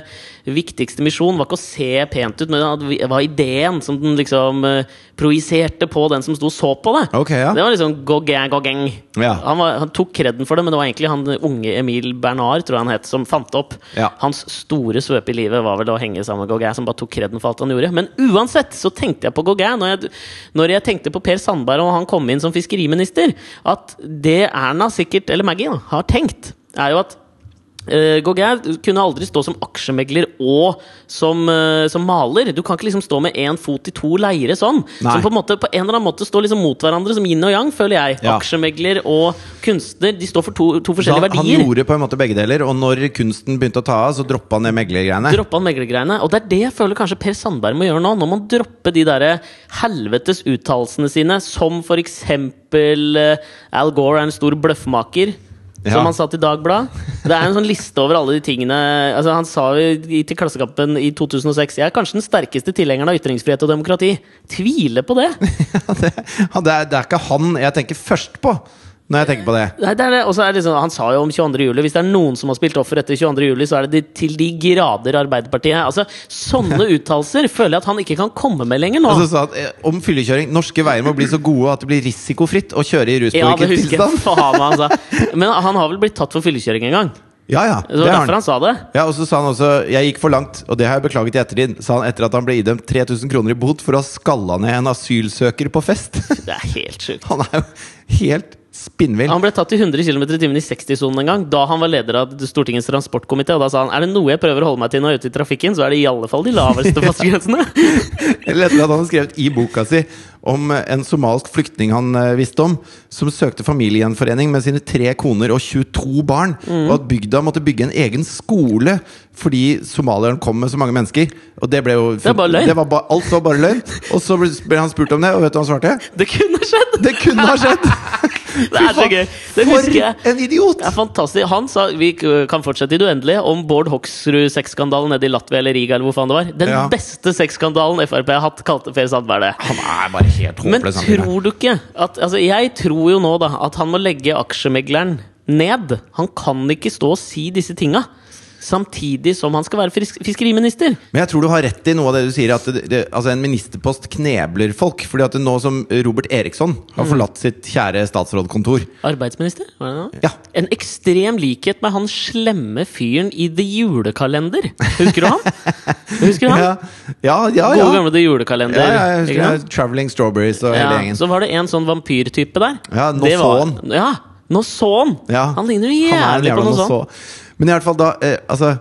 S2: viktigste misjon var ikke å se pent ut, men at vi- det var ideen som den liksom eh, projiserte på den som sto og så på det.
S1: Ok, ja.
S2: Det var liksom Gauguin, Gauguin.
S1: Ja.
S2: Han, var, han tok kreden for det, men det var egentlig han unge Emil Bernard tror jeg han het, som fant det opp.
S1: Ja.
S2: Hans store svøpe i livet var vel å henge sammen med Gauguin, som bare tok kreden for alt han gjorde. Men uansett så tenkte jeg på Gauguin når jeg, når jeg tenkte på Per Sandberg og han kom inn som fiskeriminister, at det Erna sikkert, eller Maggie, da, har tenkt, er jo at Uh, Gauguin kunne aldri stå som aksjemegler og som, eh, som maler. Du kan ikke liksom stå med én fot i to leire sånn.
S1: Nei.
S2: Som på en, måte, på en eller annen måte står liksom mot hverandre som yin og yang, føler jeg.
S1: Ja.
S2: Aksjemegler og kunstner de står for to, to
S1: Da,
S2: forskjellige
S1: han
S2: verdier.
S1: gjorde på en måte begge deler, og når kunsten begynte å ta av, så droppa han det meglergreiene.
S2: Droppa han meglergreiene. Og det er det jeg føler kanskje Per Sandberg må gjøre nå. Nå må han droppe de derre helvetes uttalelsene sine, som for eksempel eh, Al Gore er en stor bløffmaker.
S1: Ja.
S2: Som han sa til Dagbladet. Det er en sånn liste over alle de tingene Altså Han sa jo i- til Klassekampen i 2006 Jeg er kanskje den sterkeste tilhengeren av ytringsfrihet og demokrati. Tviler på det!
S1: Ja, det, ja, det, er, det er ikke han jeg tenker først på når jeg tenker på det.
S2: Nei, det er det. Og så er det liksom, han sa jo om 22. juli Hvis det er noen som har spilt offer etter 22. juli, så er det de, til de grader Arbeiderpartiet. Altså, Sånne uttalelser føler jeg at han ikke kan komme med lenger nå.
S1: Og så sa han eh, om fyllekjøring norske veier må bli så gode at det blir risikofritt å kjøre i
S2: ja, det
S1: ruspåvirket
S2: husker jeg
S1: tilstand.
S2: faen meg han sa. Men han har vel blitt tatt for fyllekjøring en gang.
S1: Ja, ja,
S2: Det
S1: det
S2: var
S1: har
S2: derfor
S1: han.
S2: han sa det.
S1: Ja, og så sa han også Jeg gikk for langt, og det har jeg beklaget i ettertid, sa han etter at han ble idømt 3000 kroner i bot for å ha skalla ned en asylsøker på fest.
S2: Det er helt sjukt.
S1: Han er jo helt spinnvill.
S2: Han ble tatt i 100 km i timen i 60-sonen en gang, da han var leder av Stortingets transportkomité. Og da sa han er det noe jeg prøver å holde meg til når jeg er ute i trafikken, så er det i alle fall de laveste fartsgrensene.
S1: Eller etter at han har skrevet i boka si om en somalisk flyktning han eh, visste om, som søkte familiegjenforening med sine tre koner og 22 barn,
S2: Mm.
S1: og at bygda måtte bygge en egen skole fordi somalieren kom med så mange mennesker. Og det ble jo
S2: er bare løgn.
S1: Det var ba, alt var bare løgn. Og så ble ble han spurt om det, og vet du hva han svarte?
S2: Det kunne skjedd!
S1: Det kunne ha skjedd!
S2: Det er så gøy. Det husker jeg.
S1: For en idiot!
S2: Det er fantastisk. Han sa vi k- kan fortsette i det uendelige om Bård Hoksrud sexskandalen nede i Latvia eller Riga eller hvor faen det var. Den
S1: Ja.
S2: beste sexskandalen Frp har hatt, kalte Per Sandberg det.
S1: Han er bare helt
S2: Men
S1: håpløs. han fyren her.
S2: tror du ikke at altså, Jeg tror jo nå da at han må legge aksjemegleren ned. Han kan ikke stå og si disse tinga. Samtidig som han skal være frisk- fiskeriminister.
S1: Men jeg tror du har rett i noe av det du sier, at det, det, altså en ministerpost knebler folk. Fordi at det nå som Robert Eriksson har
S2: Mm.
S1: forlatt sitt kjære statsrådkontor
S2: Arbeidsminister? Var det det? nå?
S1: Ja.
S2: En ekstrem likhet med han slemme fyren i The Julekalender. Husker du han? Husker du han?
S1: Ja, ja, ja. ja.
S2: Gode gamle The Julekalender.
S1: ja, ja jeg
S2: ikke
S1: husker
S2: sant?
S1: det. Traveling Strawberries og hele
S2: Ja,
S1: gjengen.
S2: så var det en sånn vampyrtype der.
S1: Ja, nå
S2: Det
S1: så
S2: var-
S1: han.
S2: Ja, nå så han!
S1: Ja.
S2: Han ligner jo
S1: Han er
S2: jævlig
S1: en
S2: på noe
S1: jævla
S2: sånt.
S1: så- Men i hvert fall da eh, Altså,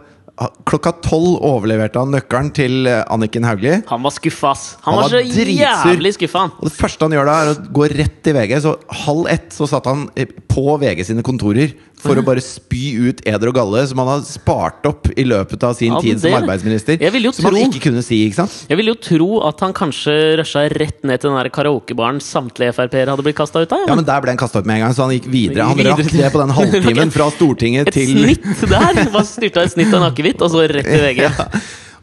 S1: ha- klokka tolv overleverte han nøkkelen til eh, Anniken Hauglie.
S2: Han var skuffa, ass. Han,
S1: Han
S2: var,
S1: var
S2: så
S1: dritsur.
S2: jævlig skuffa, han.
S1: Og det første han gjør da, er å gå rett til VG. Så halv ett så satt han eh, på VG sine kontorer for å bare spy ut eder og galle som han har spart opp i løpet av sin
S2: Ja, men
S1: tid som
S2: det-
S1: arbeidsminister.
S2: Jeg ville jo
S1: som han
S2: tro-
S1: ikke kunne si, ikke sant?
S2: Jeg ville jo tro at han kanskje rusha rett ned til den der karaokebaren samtlige Frp-er hadde blitt kasta ut av.
S1: Ja, men der ble han kasta ut med en gang, så han gikk videre. Han
S2: Videre
S1: rakk
S2: til-
S1: det på den halvtimen fra Stortinget
S2: Et
S1: til
S2: snitt der! Bare styrta et snitt av en akevitt, og så rett til VG.
S1: Ja.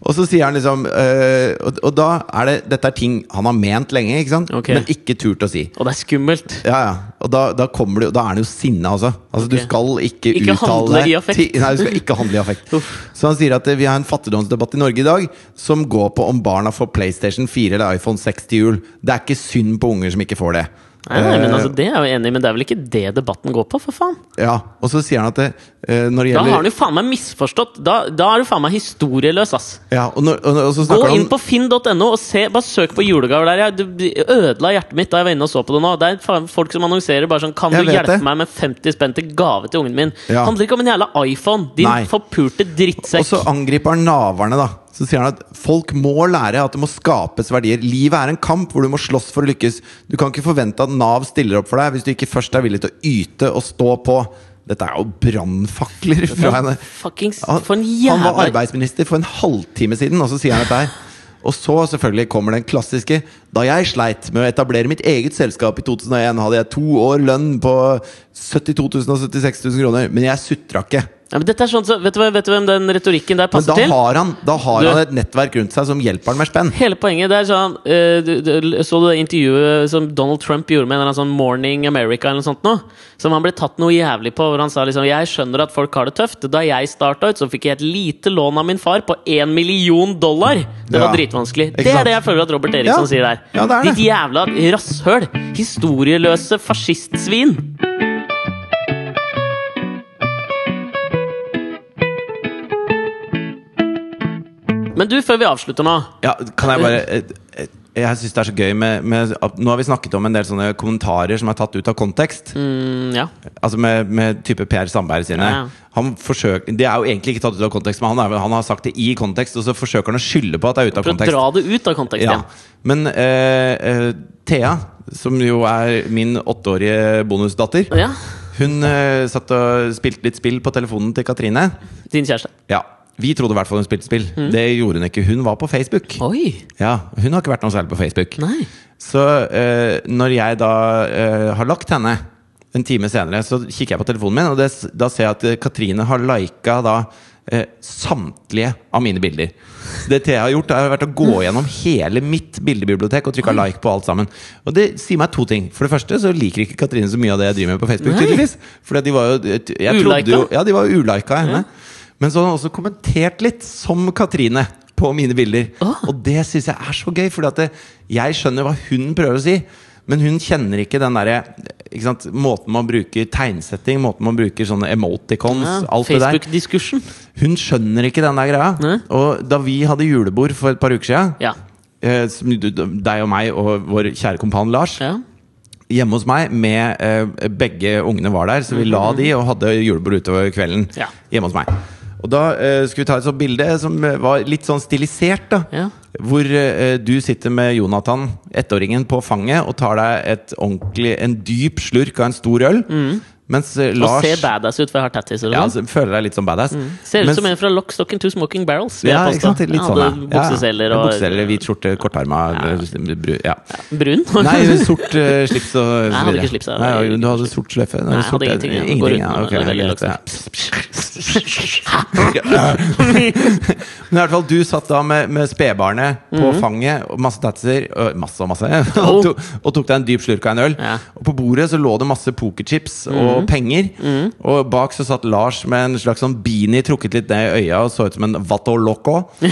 S1: Og så sier han liksom eh, og, og da er det Dette er ting han har ment lenge, ikke sant?
S2: Ok.
S1: men ikke turt å si.
S2: Og det er skummelt.
S1: Ja, ja. Og da, da kommer du Da er han jo sinna, altså. Altså Du
S2: Ok.
S1: skal ikke,
S2: Ikke
S1: uttale
S2: handle i
S1: deg
S2: affekt.
S1: til- Nei, du skal ikke handle i affekt. så han sier at eh, vi har en fattigdomsdebatt i Norge i dag som går på om barna får PlayStation 4 eller iPhone 6 til jul. Det er ikke synd på unger som ikke får det.
S2: Nei, nei, men altså, det er jeg jo enig i, men det er vel ikke det debatten går på, for faen?
S1: Ja, Og så sier han at det, eh, når det
S2: Da
S1: gjelder
S2: har han jo faen meg misforstått! Da, da er du faen meg historieløs, ass!
S1: ja, og, når, og, og så
S2: Gå
S1: snakker han
S2: inn på finn.no og se, bare søk på julegaver der. Jeg du ødela hjertet mitt da jeg var inne og så på det nå. Det er faen folk som annonserer bare sånn Kan
S1: Jeg
S2: du
S1: vet
S2: hjelpe
S1: det.
S2: meg med 50 spenn til gave til ungen min?
S1: Ja.
S2: Handler ikke om en jævla iPhone, din
S1: Nei.
S2: forpurte drittsekk.
S1: Og så angriper han naverne, da. Så sier han at folk må lære at det må skapes verdier. Livet er en kamp hvor du må slåss for å lykkes. Du kan ikke forvente at Nav stiller opp for deg hvis du ikke først er villig til å yte og stå på. Dette er jo brannfakler fra henne.
S2: Fuckings,
S1: Han,
S2: for en
S1: han var
S2: jævla
S1: arbeidsminister for en halvtime siden, og så sier han dette her. Og så selvfølgelig kommer den klassiske Da jeg sleit med å etablere mitt eget selskap i 2001, hadde jeg to år lønn på 72 000 og 76 000 kroner, men jeg sutra ikke.
S2: ja, men dette er sånn, så, vet, du, hva- vet du hvem den retorikken der
S1: Men da
S2: passer til?
S1: har han, da har
S2: Du-
S1: han et nettverk rundt seg som hjelper han med spenn.
S2: Hele poenget det er sånn eh, du, du, Så du det intervjuet som Donald Trump gjorde med en eller annen sånn Morning America eller noe sånt nå? Som han ble tatt noe jævlig på, hvor han sa liksom Jeg skjønner at folk har det tøft. Da jeg starta ut, så fikk jeg et lite lån av min far på én million dollar! Det var
S1: Ja.
S2: dritvanskelig.
S1: Ikke
S2: Det
S1: sant?
S2: er det jeg føler at Robert Eriksson
S1: Ja.
S2: sier der.
S1: Ja, det er det.
S2: Ditt jævla rasshøl! Historieløse fascistsvin! Men du, før vi avslutter nå
S1: Ja, kan jeg bare eh, eh, Jeg syns det er så gøy med, med at Nå har vi snakket om en del sånne kommentarer som er tatt ut av kontekst.
S2: mm, Ja.
S1: Altså med, med type Per Sandberg sine.
S2: Ja.
S1: Han forsøker, Det er jo egentlig ikke tatt ut av kontekst, men han, er, vel- han har sagt det i kontekst, og så forsøker han å skylde på at det er ute av
S2: For å
S1: kontekst.
S2: dra det ut av kontekst,
S1: Ja.
S2: ja.
S1: Men eh, eh, Thea, som jo er min åtteårige bonusdatter,
S2: ja.
S1: hun eh, satt og spilte litt spill på telefonen til Katrine.
S2: Din kjæreste.
S1: Ja, vi trodde i hvert fall hun spilte spill.
S2: Mm.
S1: Det gjorde hun ikke. Hun var på Facebook.
S2: Oi!
S1: Ja, Hun har ikke vært noe særlig på Facebook.
S2: Nei.
S1: Så eh, når jeg da eh, har lagt henne en time senere, så kikker jeg på telefonen min, og det, s- da ser jeg at eh, Katrine har lika da eh, samtlige av mine bilder. Så Det Thea har gjort, er vært å gå gjennom hele mitt bildebibliotek og trykka like på alt sammen. Og det sier meg to ting. For det første så liker ikke Katrine så mye av det jeg driver med på Facebook.
S2: Nei.
S1: tydeligvis Fordi at de var jo jeg trodde jo,
S2: Ulika?
S1: Ja, de var jo ulika henne. Men så har hun også kommentert litt, som Katrine, på mine bilder.
S2: Ah.
S1: Og det syns jeg er så gøy, for jeg skjønner hva hun prøver å si. Men hun kjenner ikke den derre ikke sant, måten man bruker tegnsetting, måten man bruker sånne emoticons,
S2: Ja,
S1: alt det der.
S2: Facebook-diskursen.
S1: Hun skjønner ikke den der greia.
S2: Nei.
S1: Og da vi hadde julebord for et par uker siden,
S2: Ja.
S1: eh, som du- deg og meg og vår kjære kompan Lars,
S2: ja.
S1: hjemme hos meg med eh, begge ungene var der, så vi la de og hadde julebord utover kvelden
S2: Mhm. Ja.
S1: hjemme hos meg. Og da eh, skulle vi ta et sånt bilde som eh, var litt sånn stilisert, da.
S2: Ja.
S1: Hvor eh, du sitter med Jonathan, ettåringen, på fanget og tar deg et ordentlig, en dyp slurk av en stor øl. Mens eh,
S2: Mhm. Og
S1: Lars
S2: ser badass ut, for jeg har tattiser.
S1: ja,
S2: og sånn.
S1: altså, føler deg litt som badass.
S2: Ser ut
S1: Mens-
S2: som en fra Lockstocken to Smoking Barrels. vil
S1: ja,
S2: jeg
S1: ikke sant?
S2: påstå.
S1: Litt sånn,
S2: ja.
S1: ja.
S2: Hadde bukseseler
S1: ja.
S2: og
S1: Bukseseler, hvit skjorte, kortarma, bru- ja.
S2: brun.
S1: Nei, sort eh, slips og så
S2: hadde
S1: videre.
S2: ikke slips, jeg hadde
S1: Nei,
S2: ikke
S1: Du hadde sort sløyfe?
S2: Nei, jeg hadde ingenting. Jeg går
S1: Ingenting,
S2: rundt
S1: ja.
S2: med
S1: ok,
S2: veldig
S1: greit, ja. Men i hvert fall, du satt da med, med spedbarnet på
S2: Mhm.
S1: fanget og masse tattiser og Masse og masse. Og, to, og tok deg en dyp slurk av en øl.
S2: Ja. Mhm.
S1: Og på bordet så lå det masse pokerchips og penger. Og bak så satt Lars med en slags sånn beanie trukket litt ned i øya og så ut som en Vato Loco.
S2: ja,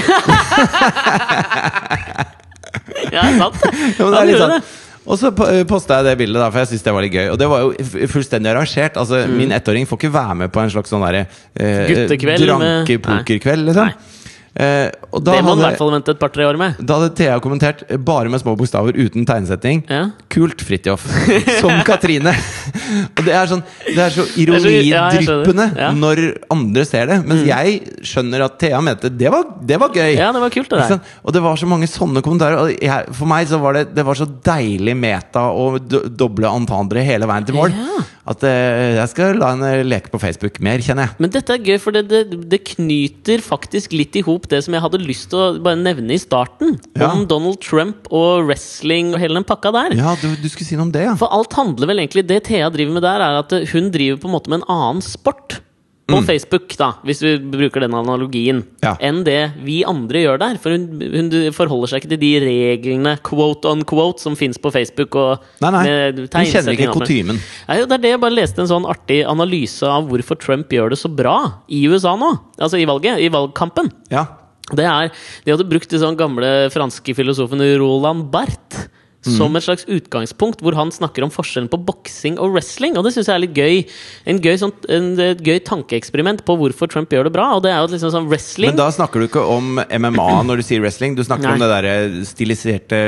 S2: sant det.
S1: Ja, men det
S2: Han
S1: er litt
S2: gjorde
S1: sånn
S2: det.
S1: og så posta jeg det bildet, da, for jeg synes det var litt gøy. Og det var jo f- fullstendig arrangert. Altså,
S2: Mm.
S1: Min ettåring får ikke være med på en slags sånn derre eh,
S2: Guttekveld med-
S1: drankepokerkveld, liksom.
S2: Nei.
S1: Eh, og da
S2: Det må han i
S1: hadde,
S2: hvert fall vente et par-tre år med.
S1: da hadde Thea kommentert eh, bare med små bokstaver, uten tegnsetting.
S2: Ja.
S1: Kult, Fridtjof. Som Katrine. og det er sånn Det er så
S2: er så- ja, jeg
S1: ironidryppende
S2: skjønner. Ja. Mm.
S1: når andre ser det. Mens jeg skjønner at Thea mente det var, det var gøy.
S2: Ja, det var kult, det
S1: Ikke
S2: der.
S1: sant? Og det var så mange sånne kommentarer. Og jeg, for meg så var det, det var så deilig meta å do, doble entendre hele veien til mål.
S2: Ja.
S1: At eh, jeg skal la henne leke på Facebook mer, kjenner jeg.
S2: Men dette er gøy, for det, det, det knyter faktisk litt i hop det som jeg hadde lyst til å bare nevne i starten.
S1: Ja.
S2: Om Donald Trump og wrestling og hele den pakka der.
S1: Ja, du, du skulle si noe om det, ja.
S2: For alt handler vel egentlig Det Thea driver med der, er at eh, hun driver på en måte med en annen sport. På Facebook, da, hvis vi bruker den analogien,
S1: Mm. Ja.
S2: enn det vi andre gjør der. For hun, hun forholder seg ikke til de reglene quote on quote som fins på Facebook. Og
S1: Nei, nei.
S2: med
S1: Hun kjenner
S2: tegnsetting
S1: ikke
S2: og alt mulig.
S1: kutymen.
S2: Nei, det er det jeg bare leste en sånn artig analyse av hvorfor Trump gjør det så bra i USA nå. Altså i valget, i valgkampen.
S1: ja.
S2: Det er, De hadde brukt den sånn gamle franske filosofen Roland Barth. som et slags utgangspunkt, hvor han snakker om forskjellen på boksing og wrestling. Og det syns jeg er litt gøy. En gøy sånn, en, et gøy tankeeksperiment på hvorfor Trump gjør det bra. Og det er jo at liksom sånn
S1: Men
S2: wrestling
S1: da snakker du ikke om MMA når du sier wrestling. Du snakker om det
S2: Nei.
S1: derre stiliserte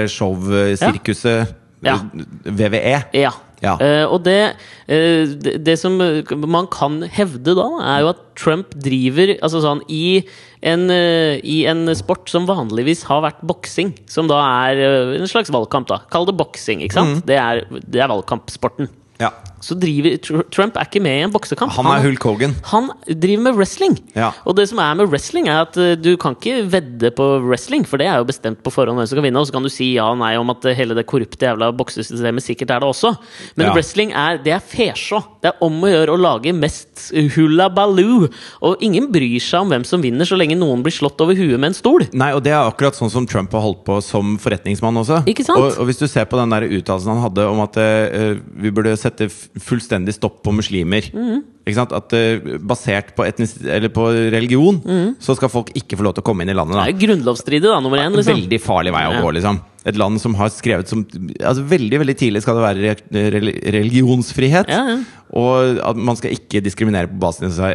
S1: show-sirkuset eh,
S2: Ja.
S1: VVE.
S2: Ja.
S1: Ja.
S2: Eh, og det, eh, det, det som eh, man kan hevde da, er jo at Trump driver altså sånn, i, en, eh, i en sport som vanligvis har vært boksing, som da er eh, en slags valgkamp. da Kall det boksing, ikke
S1: Mhm.
S2: sant? Det, er, det er valgkampsporten.
S1: Ja.
S2: Så driver, Tr- Trump er ikke med i en boksekamp.
S1: Han er Hulk Hogan.
S2: Han driver med wrestling.
S1: Ja.
S2: Og det som er med wrestling, er at eh, du kan ikke vedde på wrestling, for det er jo bestemt på forhånd hvem som kan vinne, og så kan du si ja og nei om at eh, hele det korrupte jævla boksesystemet sikkert er det også. Men
S1: Ja.
S2: wrestling er, det er fesjå. Det er om å gjøre å lage mest hula baloo. Og ingen bryr seg om hvem som vinner, så lenge noen blir slått over huet med en stol.
S1: Nei, og det er akkurat sånn som Trump har holdt på som forretningsmann også.
S2: Ikke sant?
S1: Og, og hvis du ser på den der uttalelsen han hadde om at eh, vi burde sette f- fullstendig stopp på muslimer
S2: Mm.
S1: Ikke sant? At eh, basert på, etnis eller på religion,
S2: Mm.
S1: så skal folk ikke få lov til å komme inn i landet. Da.
S2: Det er jo grunnlovsstridig, da, nummer én. Liksom.
S1: Veldig farlig vei å
S2: Ja.
S1: gå, liksom. Et land som har skrevet som altså Veldig veldig tidlig skal det være re- rel- religionsfrihet.
S2: Ja, ja.
S1: Og at man skal ikke diskriminere på basis av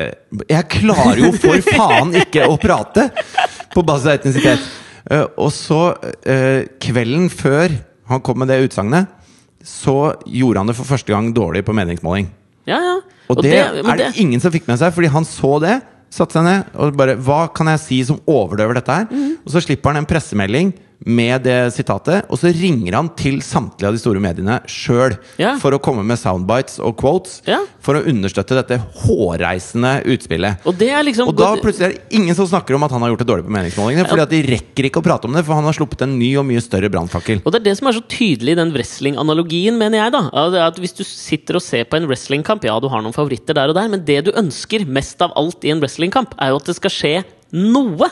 S1: Jeg klarer jo for faen ikke å prate! På basis av etnisitet. Eh, og så, eh, kvelden før han kom med det utsagnet, så gjorde han det for første gang dårlig på meningsmåling.
S2: Ja, ja.
S1: Og, det,
S2: men
S1: er det ingen som fikk med seg, fordi han så det. Satte seg ned og bare Hva kan jeg si som overdøver dette her?
S2: Mhm.
S1: Og så slipper han en pressemelding med det sitatet, og så ringer han til samtlige av de store mediene sjøl
S2: Ja.
S1: for å komme med soundbites og quotes
S2: Ja.
S1: for å understøtte dette hårreisende utspillet.
S2: og det er liksom
S1: Og da plutselig er det ingen som snakker om at han har gjort det dårlig på meningsmålingene, fordi at de rekker ikke å prate om det, for han har sluppet en ny og mye større brannfakkel.
S2: Og det er det som er så tydelig i den wrestling-analogien, mener jeg. da Ja, det er at Hvis du sitter og ser på en wrestlingkamp, ja, du har noen favoritter der og der, men det du ønsker mest av alt i en wrestlingkamp, er jo at det skal skje noe.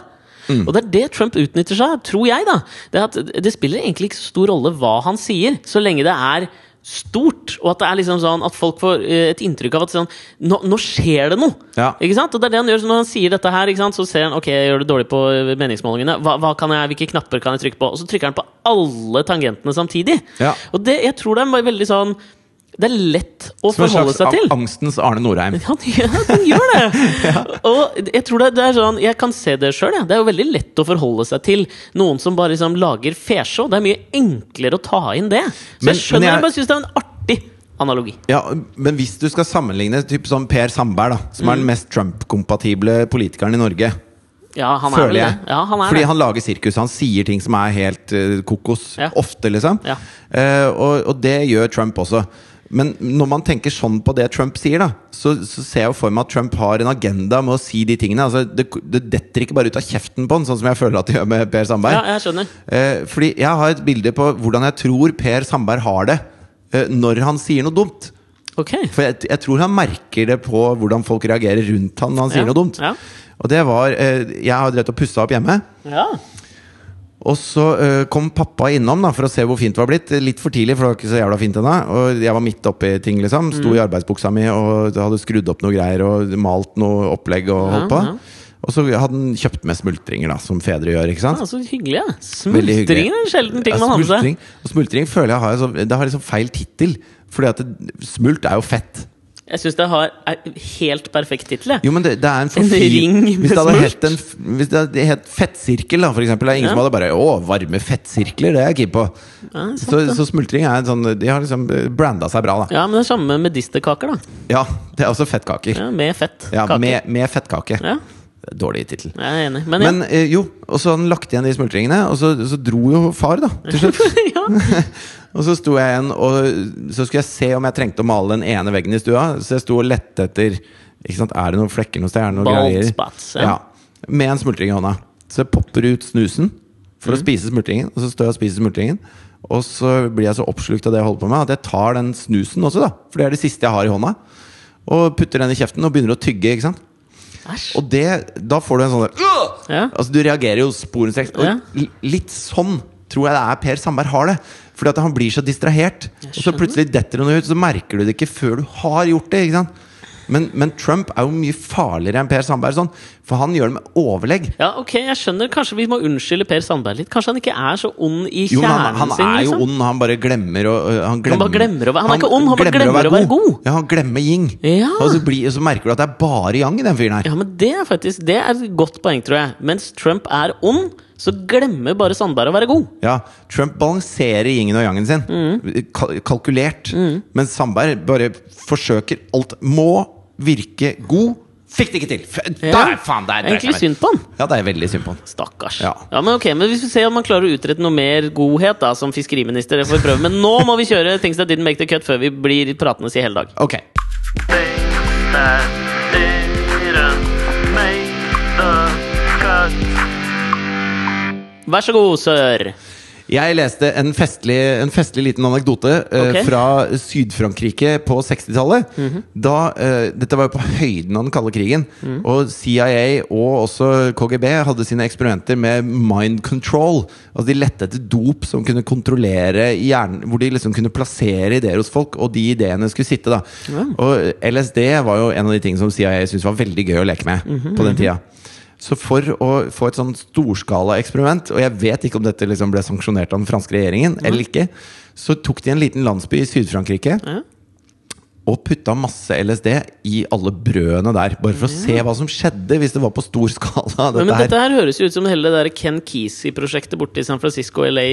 S2: Og det er det Trump utnytter seg av, tror jeg. da Det er at det spiller egentlig ikke så stor rolle hva han sier, så lenge det er stort, og at det er liksom sånn at folk får eh, et inntrykk av at sånn, nå, nå skjer det noe!
S1: Ja.
S2: Ikke sant? Og det er det han gjør. Så når han sier dette her, ikke sant? så ser han ok, jeg gjør det dårlig på eh, meningsmålingene. Hva, hva kan jeg, hvilke knapper kan jeg trykke på? Og så trykker han på alle tangentene samtidig.
S1: Ja.
S2: Og det, jeg tror det er veldig sånn Det er lett å
S1: Som en
S2: forholde
S1: slags
S2: seg til.
S1: ang- angstens Arne Norheim.
S2: Han, gjør- han gjør det! Og jeg tror det, det er sånn Jeg kan se det sjøl. Det er jo veldig lett å forholde seg til noen som bare liksom lager fesjå. Det er mye enklere å ta inn det. Så
S1: Men-
S2: jeg skjønner
S1: men jeg-
S2: jeg bare syns det er en artig analogi.
S1: Ja, Men hvis du skal sammenligne typ sånn Per Sandberg, da, som
S2: Mm.
S1: er den mest Trump-kompatible politikeren i Norge
S2: Ja, han er
S1: Føler
S2: vel
S1: jeg.
S2: det. Ja, han er
S1: Fordi
S2: det.
S1: han lager sirkus. Han sier ting som er helt eh, kokos.
S2: Ja.
S1: Ofte, liksom.
S2: Ja.
S1: Eh, og, og det gjør Trump også. Men når man tenker sånn på det Trump sier, da så, så ser jeg jo for meg at Trump har en agenda med å si de tingene. Altså, det, det detter ikke bare ut av kjeften på han, sånn som jeg føler at det gjør med Per Sandberg.
S2: Ja, jeg skjønner.
S1: Eh, fordi jeg har et bilde på hvordan jeg tror Per Sandberg har det eh, når han sier noe dumt.
S2: Ok.
S1: For jeg, jeg tror han merker det på hvordan folk reagerer rundt han når han sier
S2: Ja,
S1: noe dumt.
S2: ja.
S1: Og det var eh, Jeg har drevet og pussa opp hjemme.
S2: Ja.
S1: Og så eh, kom pappa innom da for å se hvor fint det var blitt. Litt for tidlig, for det var ikke så jævla fint ennå. Og jeg var midt oppi ting, liksom. Sto
S2: Mm.
S1: i arbeidsbuksa mi og hadde skrudd opp noe greier og malt noe opplegg og holdt
S2: Ja,
S1: på.
S2: ja.
S1: Og så hadde han kjøpt med smultringer, da, som fedre gjør. ikke sant?
S2: Ja, så hyggelig, ja.
S1: Veldig hyggelig.
S2: Smultringen er en sjelden ting
S1: Ja,
S2: man har med seg.
S1: smultring- Og smultring føler jeg har, en sånn- det har liksom feil tittel. Fordi at det, smult er jo fett.
S2: Jeg syns det har er helt perfekt tittel, jeg.
S1: Jo, men det, det er en
S2: En
S1: forfi-
S2: ring med
S1: Hvis det hadde
S2: smult?
S1: hett en f- Hvis det hadde hett fettsirkel, da, for eksempel. Det er ingen
S2: Ja.
S1: som hadde bare Å, varme fettsirkler, det er jeg keen på.
S2: Ja, det er sant,
S1: så, så smultring er en sånn De har liksom branda seg bra, da.
S2: Ja, men det er samme med medisterkaker, da.
S1: Ja, det er også fettkaker.
S2: Ja, med fett.
S1: Ja,
S2: kake.
S1: med, med fettkake.
S2: Ja,
S1: Dårlig tittel.
S2: jeg er enig. Men,
S1: Men eh, jo, og så hadde han lagt igjen de smultringene, og så, så dro jo far, da, til slutt.
S2: ja.
S1: Og så sto jeg igjen, og så skulle jeg se om jeg trengte å male den ene veggen i stua. Så jeg sto og lette etter ikke sant? Er det noen flekker noe sted. Er det noen
S2: Bald
S1: greier?
S2: spots, ja.
S1: ja. Med en smultring i hånda. Så jeg popper ut snusen for
S2: Mm.
S1: å spise smultringen. Og så står jeg og spiser smultringen. Og så blir jeg så oppslukt av det jeg holder på med, at jeg tar den snusen også, da. For det er det siste jeg har i hånda. Og putter den i kjeften og begynner å tygge. ikke sant?
S2: Æsj.
S1: Og det, da får du en sånn der «Åh!»
S2: Ja.
S1: Altså Du reagerer jo sporenstreks. Og
S2: Ja.
S1: l- litt sånn tror jeg det er Per Sandberg har det. Fordi at han blir så distrahert. Og så
S2: skjønner.
S1: plutselig detter det noe ut, så merker du det ikke før du har gjort det. Ikke sant? Men, men Trump er jo mye farligere enn Per Sandberg, sånn, for han gjør det med overlegg.
S2: Ja, ok, jeg skjønner. Kanskje vi må unnskylde Per Sandberg litt. Kanskje han ikke er så ond i
S1: Jo,
S2: kjernen
S1: men han, han
S2: sin?
S1: er jo
S2: liksom.
S1: ond, han bare glemmer å øh, han, glemmer,
S2: bare glemmer å være- han er ikke ond, han bare glemmer å være god.
S1: Ja, han glemmer yin.
S2: Ja.
S1: Og så, blir, så merker du at det er bare yang i den fyren her.
S2: Ja, men det er faktisk Det er et godt poeng, tror jeg. Mens Trump er ond, så glemmer bare Sandberg å være god.
S1: Ja, Trump balanserer yingen og yangen sin. Kal kalkulert. Mens Sandberg bare forsøker alt. Må virke god. Fikk det ikke til! F der, faen, der, der,
S2: Egentlig synd på han.
S1: Ja, det er veldig synd på han.
S2: Stakkars.
S1: Ja.
S2: Ja. Men ok, men hvis vi ser om han klarer å utrette noe mer godhet da som fiskeriminister, det får vi prøve. Men nå må vi kjøre Things That Didn't Make The Cut før vi blir pratende i hele dag.
S1: Ok.
S3: things that didn't make the cut.
S2: Vær så god, sir.
S1: Jeg leste en festlig, en festlig liten anekdote eh,
S2: Ok.
S1: fra Syd-Frankrike på 60-tallet. Da eh, Dette var jo på høyden av den kalde krigen. Og CIA og også KGB hadde sine eksperimenter med mind control. Altså De lette etter dop som kunne kontrollere hjernen, hvor de liksom kunne plassere ideer hos folk, og de ideene skulle sitte. da Og LSD var jo en av de tingene som CIA syntes var veldig gøy å leke med på den tida. Så for å få et sånn storskala eksperiment, og jeg vet ikke om dette liksom ble sanksjonert av den franske regjeringen, eller ikke, så tok de en liten landsby i Syd-Frankrike
S2: Ja.
S1: og putta masse LSD i alle brødene der. Bare for å se hva som skjedde hvis det var på stor skala. Dette
S2: Men, men
S1: her.
S2: dette her høres jo ut som hele det der Ken Kesey-prosjektet borte i San Francisco LA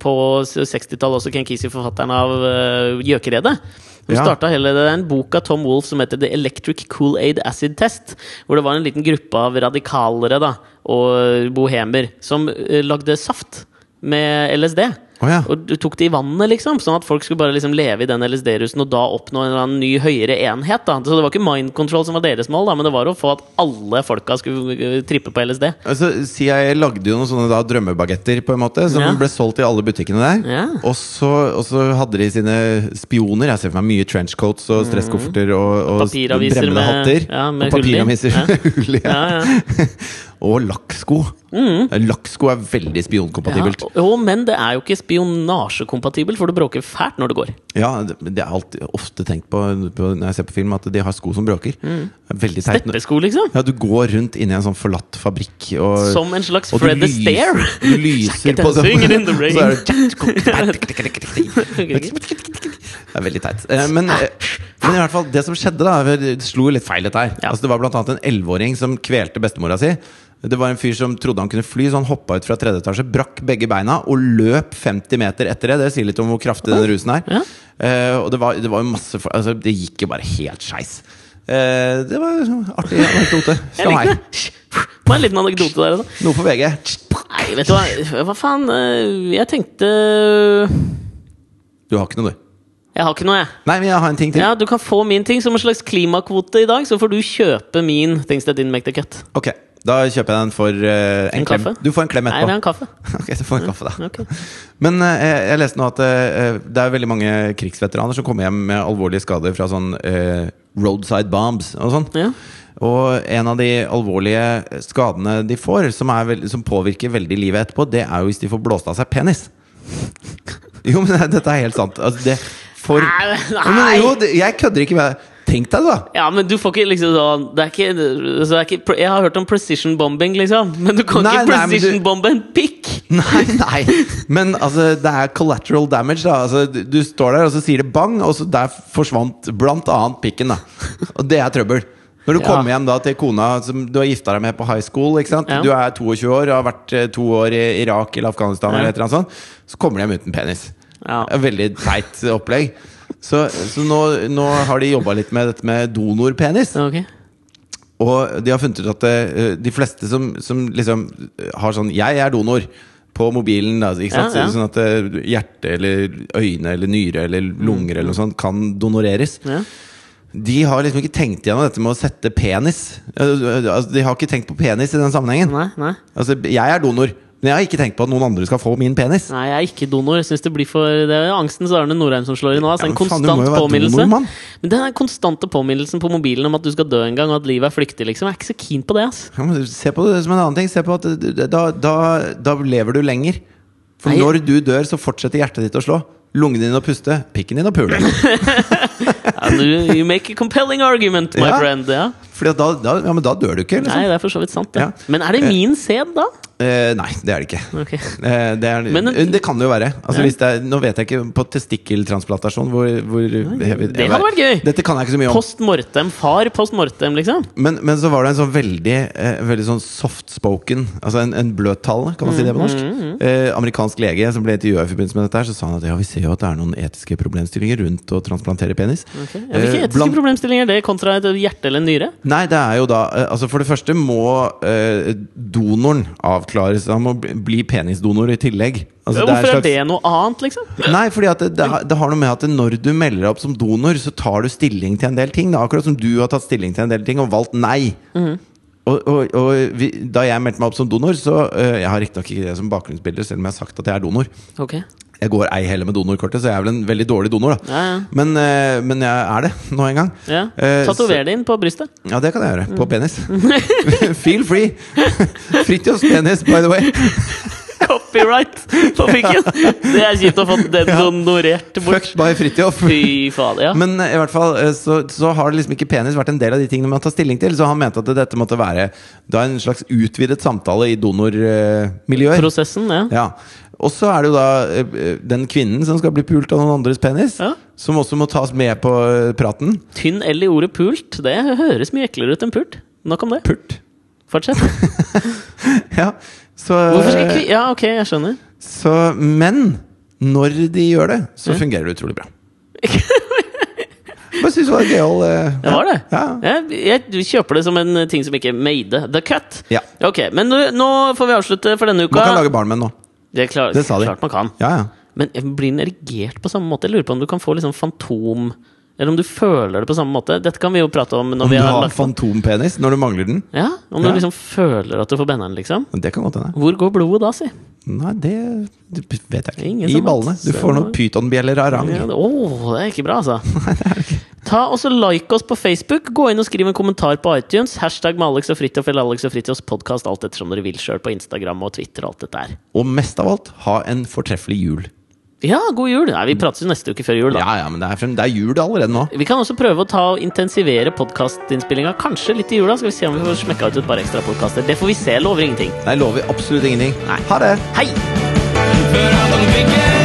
S2: på 60-tallet. Også Ken Kesey, forfatteren av øh, Gjøkeredet. Som
S1: Ja.
S2: startet hele det, det er en bok av Tom Wolfe som heter The Electric Kool-Aid Acid Test. Hvor det var en liten gruppe av radikalere da, og bohemer som øh, lagde saft med LSD.
S1: Å ja.
S2: Og du tok det i vannet, liksom. Sånn at folk skulle bare liksom leve i den LSD-rusen og da oppnå en eller annen ny høyere enhet. da Så det var ikke mind control som var deres mål, da men det var å få at alle folka skulle eh, trippe på LSD.
S1: Altså, CIA lagde jo noen sånne da, drømmebagetter på en måte som
S2: Ja.
S1: ble solgt i alle butikkene der.
S2: Ja.
S1: Og, så, og så hadde de sine spioner. Jeg ser for meg mye trenchcoats og stresskofferter og, og
S2: Papiraviser
S1: bremmede
S2: med-
S1: hatter.
S2: ja,
S1: og
S2: med hull i.
S1: papiraviser
S2: Ja.
S1: med hull i. ja.
S2: Ja, ja.
S1: og lakksko. Lakksko er veldig spionkompatibelt.
S2: Ja, og- og- men det er jo ikke spionasjekompatibel, for du bråker fælt når du går.
S1: Ja, det, det er alltid, ofte tenkt på, på når jeg ser på film, at de har sko som bråker.
S2: Mm.
S1: Det er Veldig teit.
S2: Steppesko, liksom.
S1: Ja, du går rundt inni en sånn forlatt fabrikk og
S2: Som en slags
S1: og du
S2: Fred
S1: lyser-
S2: Astaire.
S1: Du lyser på dem.
S2: Singing in the rain.
S1: Så er det Det er veldig teit. Eh, Men, eh, men i hvert fall, det som skjedde, da det slo jo litt feil, dette her.
S2: Ja.
S1: Altså, det var blant annet en elleveåring som kvelte bestemora si. Det var en fyr som trodde han kunne fly, så han hoppa ut fra tredje etasje, brakk begge beina og løp 50 meter etter det. Det sier litt om hvor kraftig den rusen er.
S2: Ja.
S1: Eh, og det var, det var jo masse for, altså, Det gikk jo bare helt skeis. Eh, det var en artig anekdote
S2: Jeg
S1: fra
S2: likte
S1: meg.
S2: det. Det var en liten anekdote der. Da.
S1: Noe for VG.
S2: Nei, vet du hva, hva faen eh, Jeg tenkte
S1: Du har ikke noe, du.
S2: Jeg har ikke noe, jeg.
S1: Nei, men jeg har en ting til.
S2: Ja, Du kan få min ting som en slags klimakvote i dag, så får du kjøpe min. Things that didn't make the cut.
S1: Ok, Da kjøper jeg den for eh, en,
S2: En
S1: klem.
S2: kaffe?
S1: Du får en klem
S2: Nei,
S1: etterpå.
S2: det er en kaffe.
S1: Ok, så får jeg en kaffe, da.
S2: Ok.
S1: Men eh, jeg, jeg leste nå at eh, det er veldig mange krigsveteraner som kommer hjem med alvorlige skader fra sånn eh, roadside bombs og sånn.
S2: Ja.
S1: Og en av de alvorlige skadene de får, som, er veld, som påvirker veldig livet etterpå, det er jo hvis de får blåst av seg penis. Jo, men dette er helt sant. Altså, det for
S2: Nei, nei.
S1: Jo, Men, jo, det, jeg kødder ikke med deg. Tenk deg det, da!
S2: Ja, men du får ikke liksom sånn Det er ikke, så det er ikke Jeg har hørt om precision bombing, liksom. Men du kan
S1: Nei,
S2: ikke
S1: nei, men du-
S2: precision bombe en pikk!
S1: Nei, nei. Men altså, det er collateral damage. da altså, du, du står der, og så sier det bang, og så der forsvant blant annet pikken. da Og det er trøbbel. Når du
S2: Ja.
S1: kommer hjem da til kona som du har gifta deg med på high school ikke sant?
S2: Ja.
S1: Du er 22 år og har vært eh, to år i Irak eller Afghanistan,
S2: Ja.
S1: eller et eller annet sånt, så kommer de hjem uten penis.
S2: Ja.
S1: Det er Veldig teit opplegg. Så, så nå, nå har de jobba litt med dette med donorpenis.
S2: Ok.
S1: Og de har funnet ut at eh, de fleste som, som liksom har sånn 'jeg er donor' på mobilen, da, ikke sant?
S2: Ja, ja.
S1: sånn at eh, hjerte eller øyne eller nyre eller lunger eller noe sånt kan donoreres.
S2: Ja.
S1: De har liksom ikke tenkt igjennom dette med å sette penis. Eh, Altså, de har ikke tenkt på penis i den sammenhengen.
S2: Nei, nei.
S1: Altså, jeg er donor, men jeg har ikke tenkt på at noen andre skal få min penis.
S2: Nei, jeg er ikke donor. Jeg synes det blir for Det er angstens Arne Norheim som slår inn nå.
S1: Ja,
S2: Altså, en
S1: men faen, du
S2: konstant
S1: må jo være
S2: påminnelse.
S1: donor, mann.
S2: men den konstante påminnelsen på mobilen om at du skal dø en gang, og at livet er flyktig, liksom. Jeg er ikke så keen på det, ass.
S1: Ja, men se på det som en annen ting. Se på at eh, da, da, da lever du lenger. For
S2: Nei.
S1: når du dør, så fortsetter hjertet ditt å slå. lungen din å puste, pikken din å pule.
S2: Ja, du- You make a compelling argument, my
S1: Ja.
S2: friend. Ja.
S1: Fordi at da, da, ja, men da dør du ikke,
S2: Nei,
S1: liksom.
S2: det er for så vidt sant, det.
S1: Ja.
S2: Men er det
S1: Eh.
S2: min sæd, da?
S1: Eh, nei, det er det ikke.
S2: Ok.
S1: Eh, det, er,
S2: Men-
S1: det kan det jo være. Altså,
S2: Ja.
S1: hvis det er, nå vet jeg ikke på testikkeltransplantasjon hvor, hvor
S2: det hadde vært gøy.
S1: Dette kan jeg ikke så mye om.
S2: Post mortem. Far post mortem, liksom.
S1: Men, men så var det en sånn veldig, eh, veldig sånn softspoken Altså en, en bløttale, kan man si det
S2: Mm,
S1: på norsk? Eh, amerikansk lege som ble intervjua i forbindelse med dette, her så sa han at ja, vi ser jo at det er noen etiske problemstillinger rundt å transplantere penis.
S2: Ok. Ja, hvilke
S1: Eh,
S2: etiske
S1: blant-
S2: problemstillinger er det kontra et hjerte eller en nyre?
S1: Nei, det er jo da eh, Altså For det første må eh, donoren avklares. Han må bli- bli penisdonor i tillegg. Altså,
S2: Hvorfor er,
S1: en slags-
S2: det noe annet, liksom?
S1: Nei, fordi at det, det, har- det har noe med at når du melder deg opp som donor, så tar du stilling til en del ting. Da. Akkurat som du har tatt stilling til en del ting og valgt nei.
S2: Mhm.
S1: Og, og, og vi, da jeg meldte meg opp som donor, så øh, Jeg har riktignok ikke det som bakgrunnsbilde, selv om jeg har sagt at jeg er donor.
S2: Ok,
S1: Jeg går ei heller med donorkortet, så jeg er vel en veldig dårlig donor, da.
S2: Ja, ja.
S1: Men, øh, men jeg er det nå en gang.
S2: ja.
S1: Eh,
S2: Tatover det inn på brystet.
S1: så- Ja, det kan jeg gjøre.
S2: Mm.
S1: På penis. Feel free! Fritjofs penis, by the way.
S2: Copyright på pikken! Det er kjipt å få den donorert bort.
S1: Fucked by Fritjof.
S2: Fy fader, ja.
S1: Men eh, i hvert fall eh, så, så har liksom ikke penis vært en del av de tingene man tar stilling til. Så han mente at dette måtte være da en slags utvidet samtale i donormiljøer.
S2: Prosessen, ja.
S1: Ja. Og så er det jo da eh, den kvinnen som skal bli pult av noen andres penis,
S2: Ja.
S1: som også må tas med på eh, praten.
S2: Tynn L i ordet pult, det høres mye eklere ut enn pult. Nok om det.
S1: Pult.
S2: Fortsett.
S1: Ja. Så, eh,
S2: Hvorfor skal ikke Ja, ok, jeg skjønner.
S1: så Men når de gjør det, så
S2: Mm.
S1: fungerer det utrolig bra. Bare syns det var en gøyal eh,
S2: Det var det?
S1: Ja.
S2: Jeg, jeg, du kjøper det som en ting som ikke made the cut.
S1: Ja.
S2: Ok, Men nå, nå får vi avslutte for denne uka.
S1: Man kan lage barn med den nå.
S2: det, er klar,
S1: Det sa de.
S2: Klart man kan.
S1: Ja, ja.
S2: Men blir den erigert på samme måte? Jeg lurer på om du kan få liksom fantom Eller om du føler det på samme måte. Dette kan vi jo prate om når
S1: Om
S2: vi
S1: du
S2: har
S1: har
S2: lagt
S1: fantompenis når du mangler den?
S2: Ja, Om
S1: Ja.
S2: du liksom føler at du får benneren, liksom.
S1: Men Det kan godt hende.
S2: Hvor går blodet da, si?
S1: Nei, det, det vet jeg ikke.
S2: Ingen
S1: I
S2: som
S1: ballene.
S2: vet.
S1: Du får noen pytonbjeller av rang.
S2: Ja, det, åh, det er ikke bra, altså. Ta og så Like oss på Facebook. Gå inn og skriv en kommentar på iTunes. Hashtag med Alex og Fridtjof eller Alex og Fridtjofs podkast, alt ettersom dere vil sjøl, på Instagram og Twitter og alt dette her.
S1: Og mest av alt, ha en fortreffelig jul.
S2: Ja, god jul! Nei, vi prates jo neste uke før jul, da.
S1: Ja, ja, men det er, frem, det er jul allerede nå.
S2: Vi kan også prøve å ta og intensivere podkastinnspillinga kanskje litt i jula. Skal vi se om vi får smekka ut et par ekstra podkaster. Det får vi se. Lover ingenting.
S1: Nei, lover absolutt ingenting.
S2: Nei.
S1: Ha det!
S2: Hei!
S4: Før han fikk en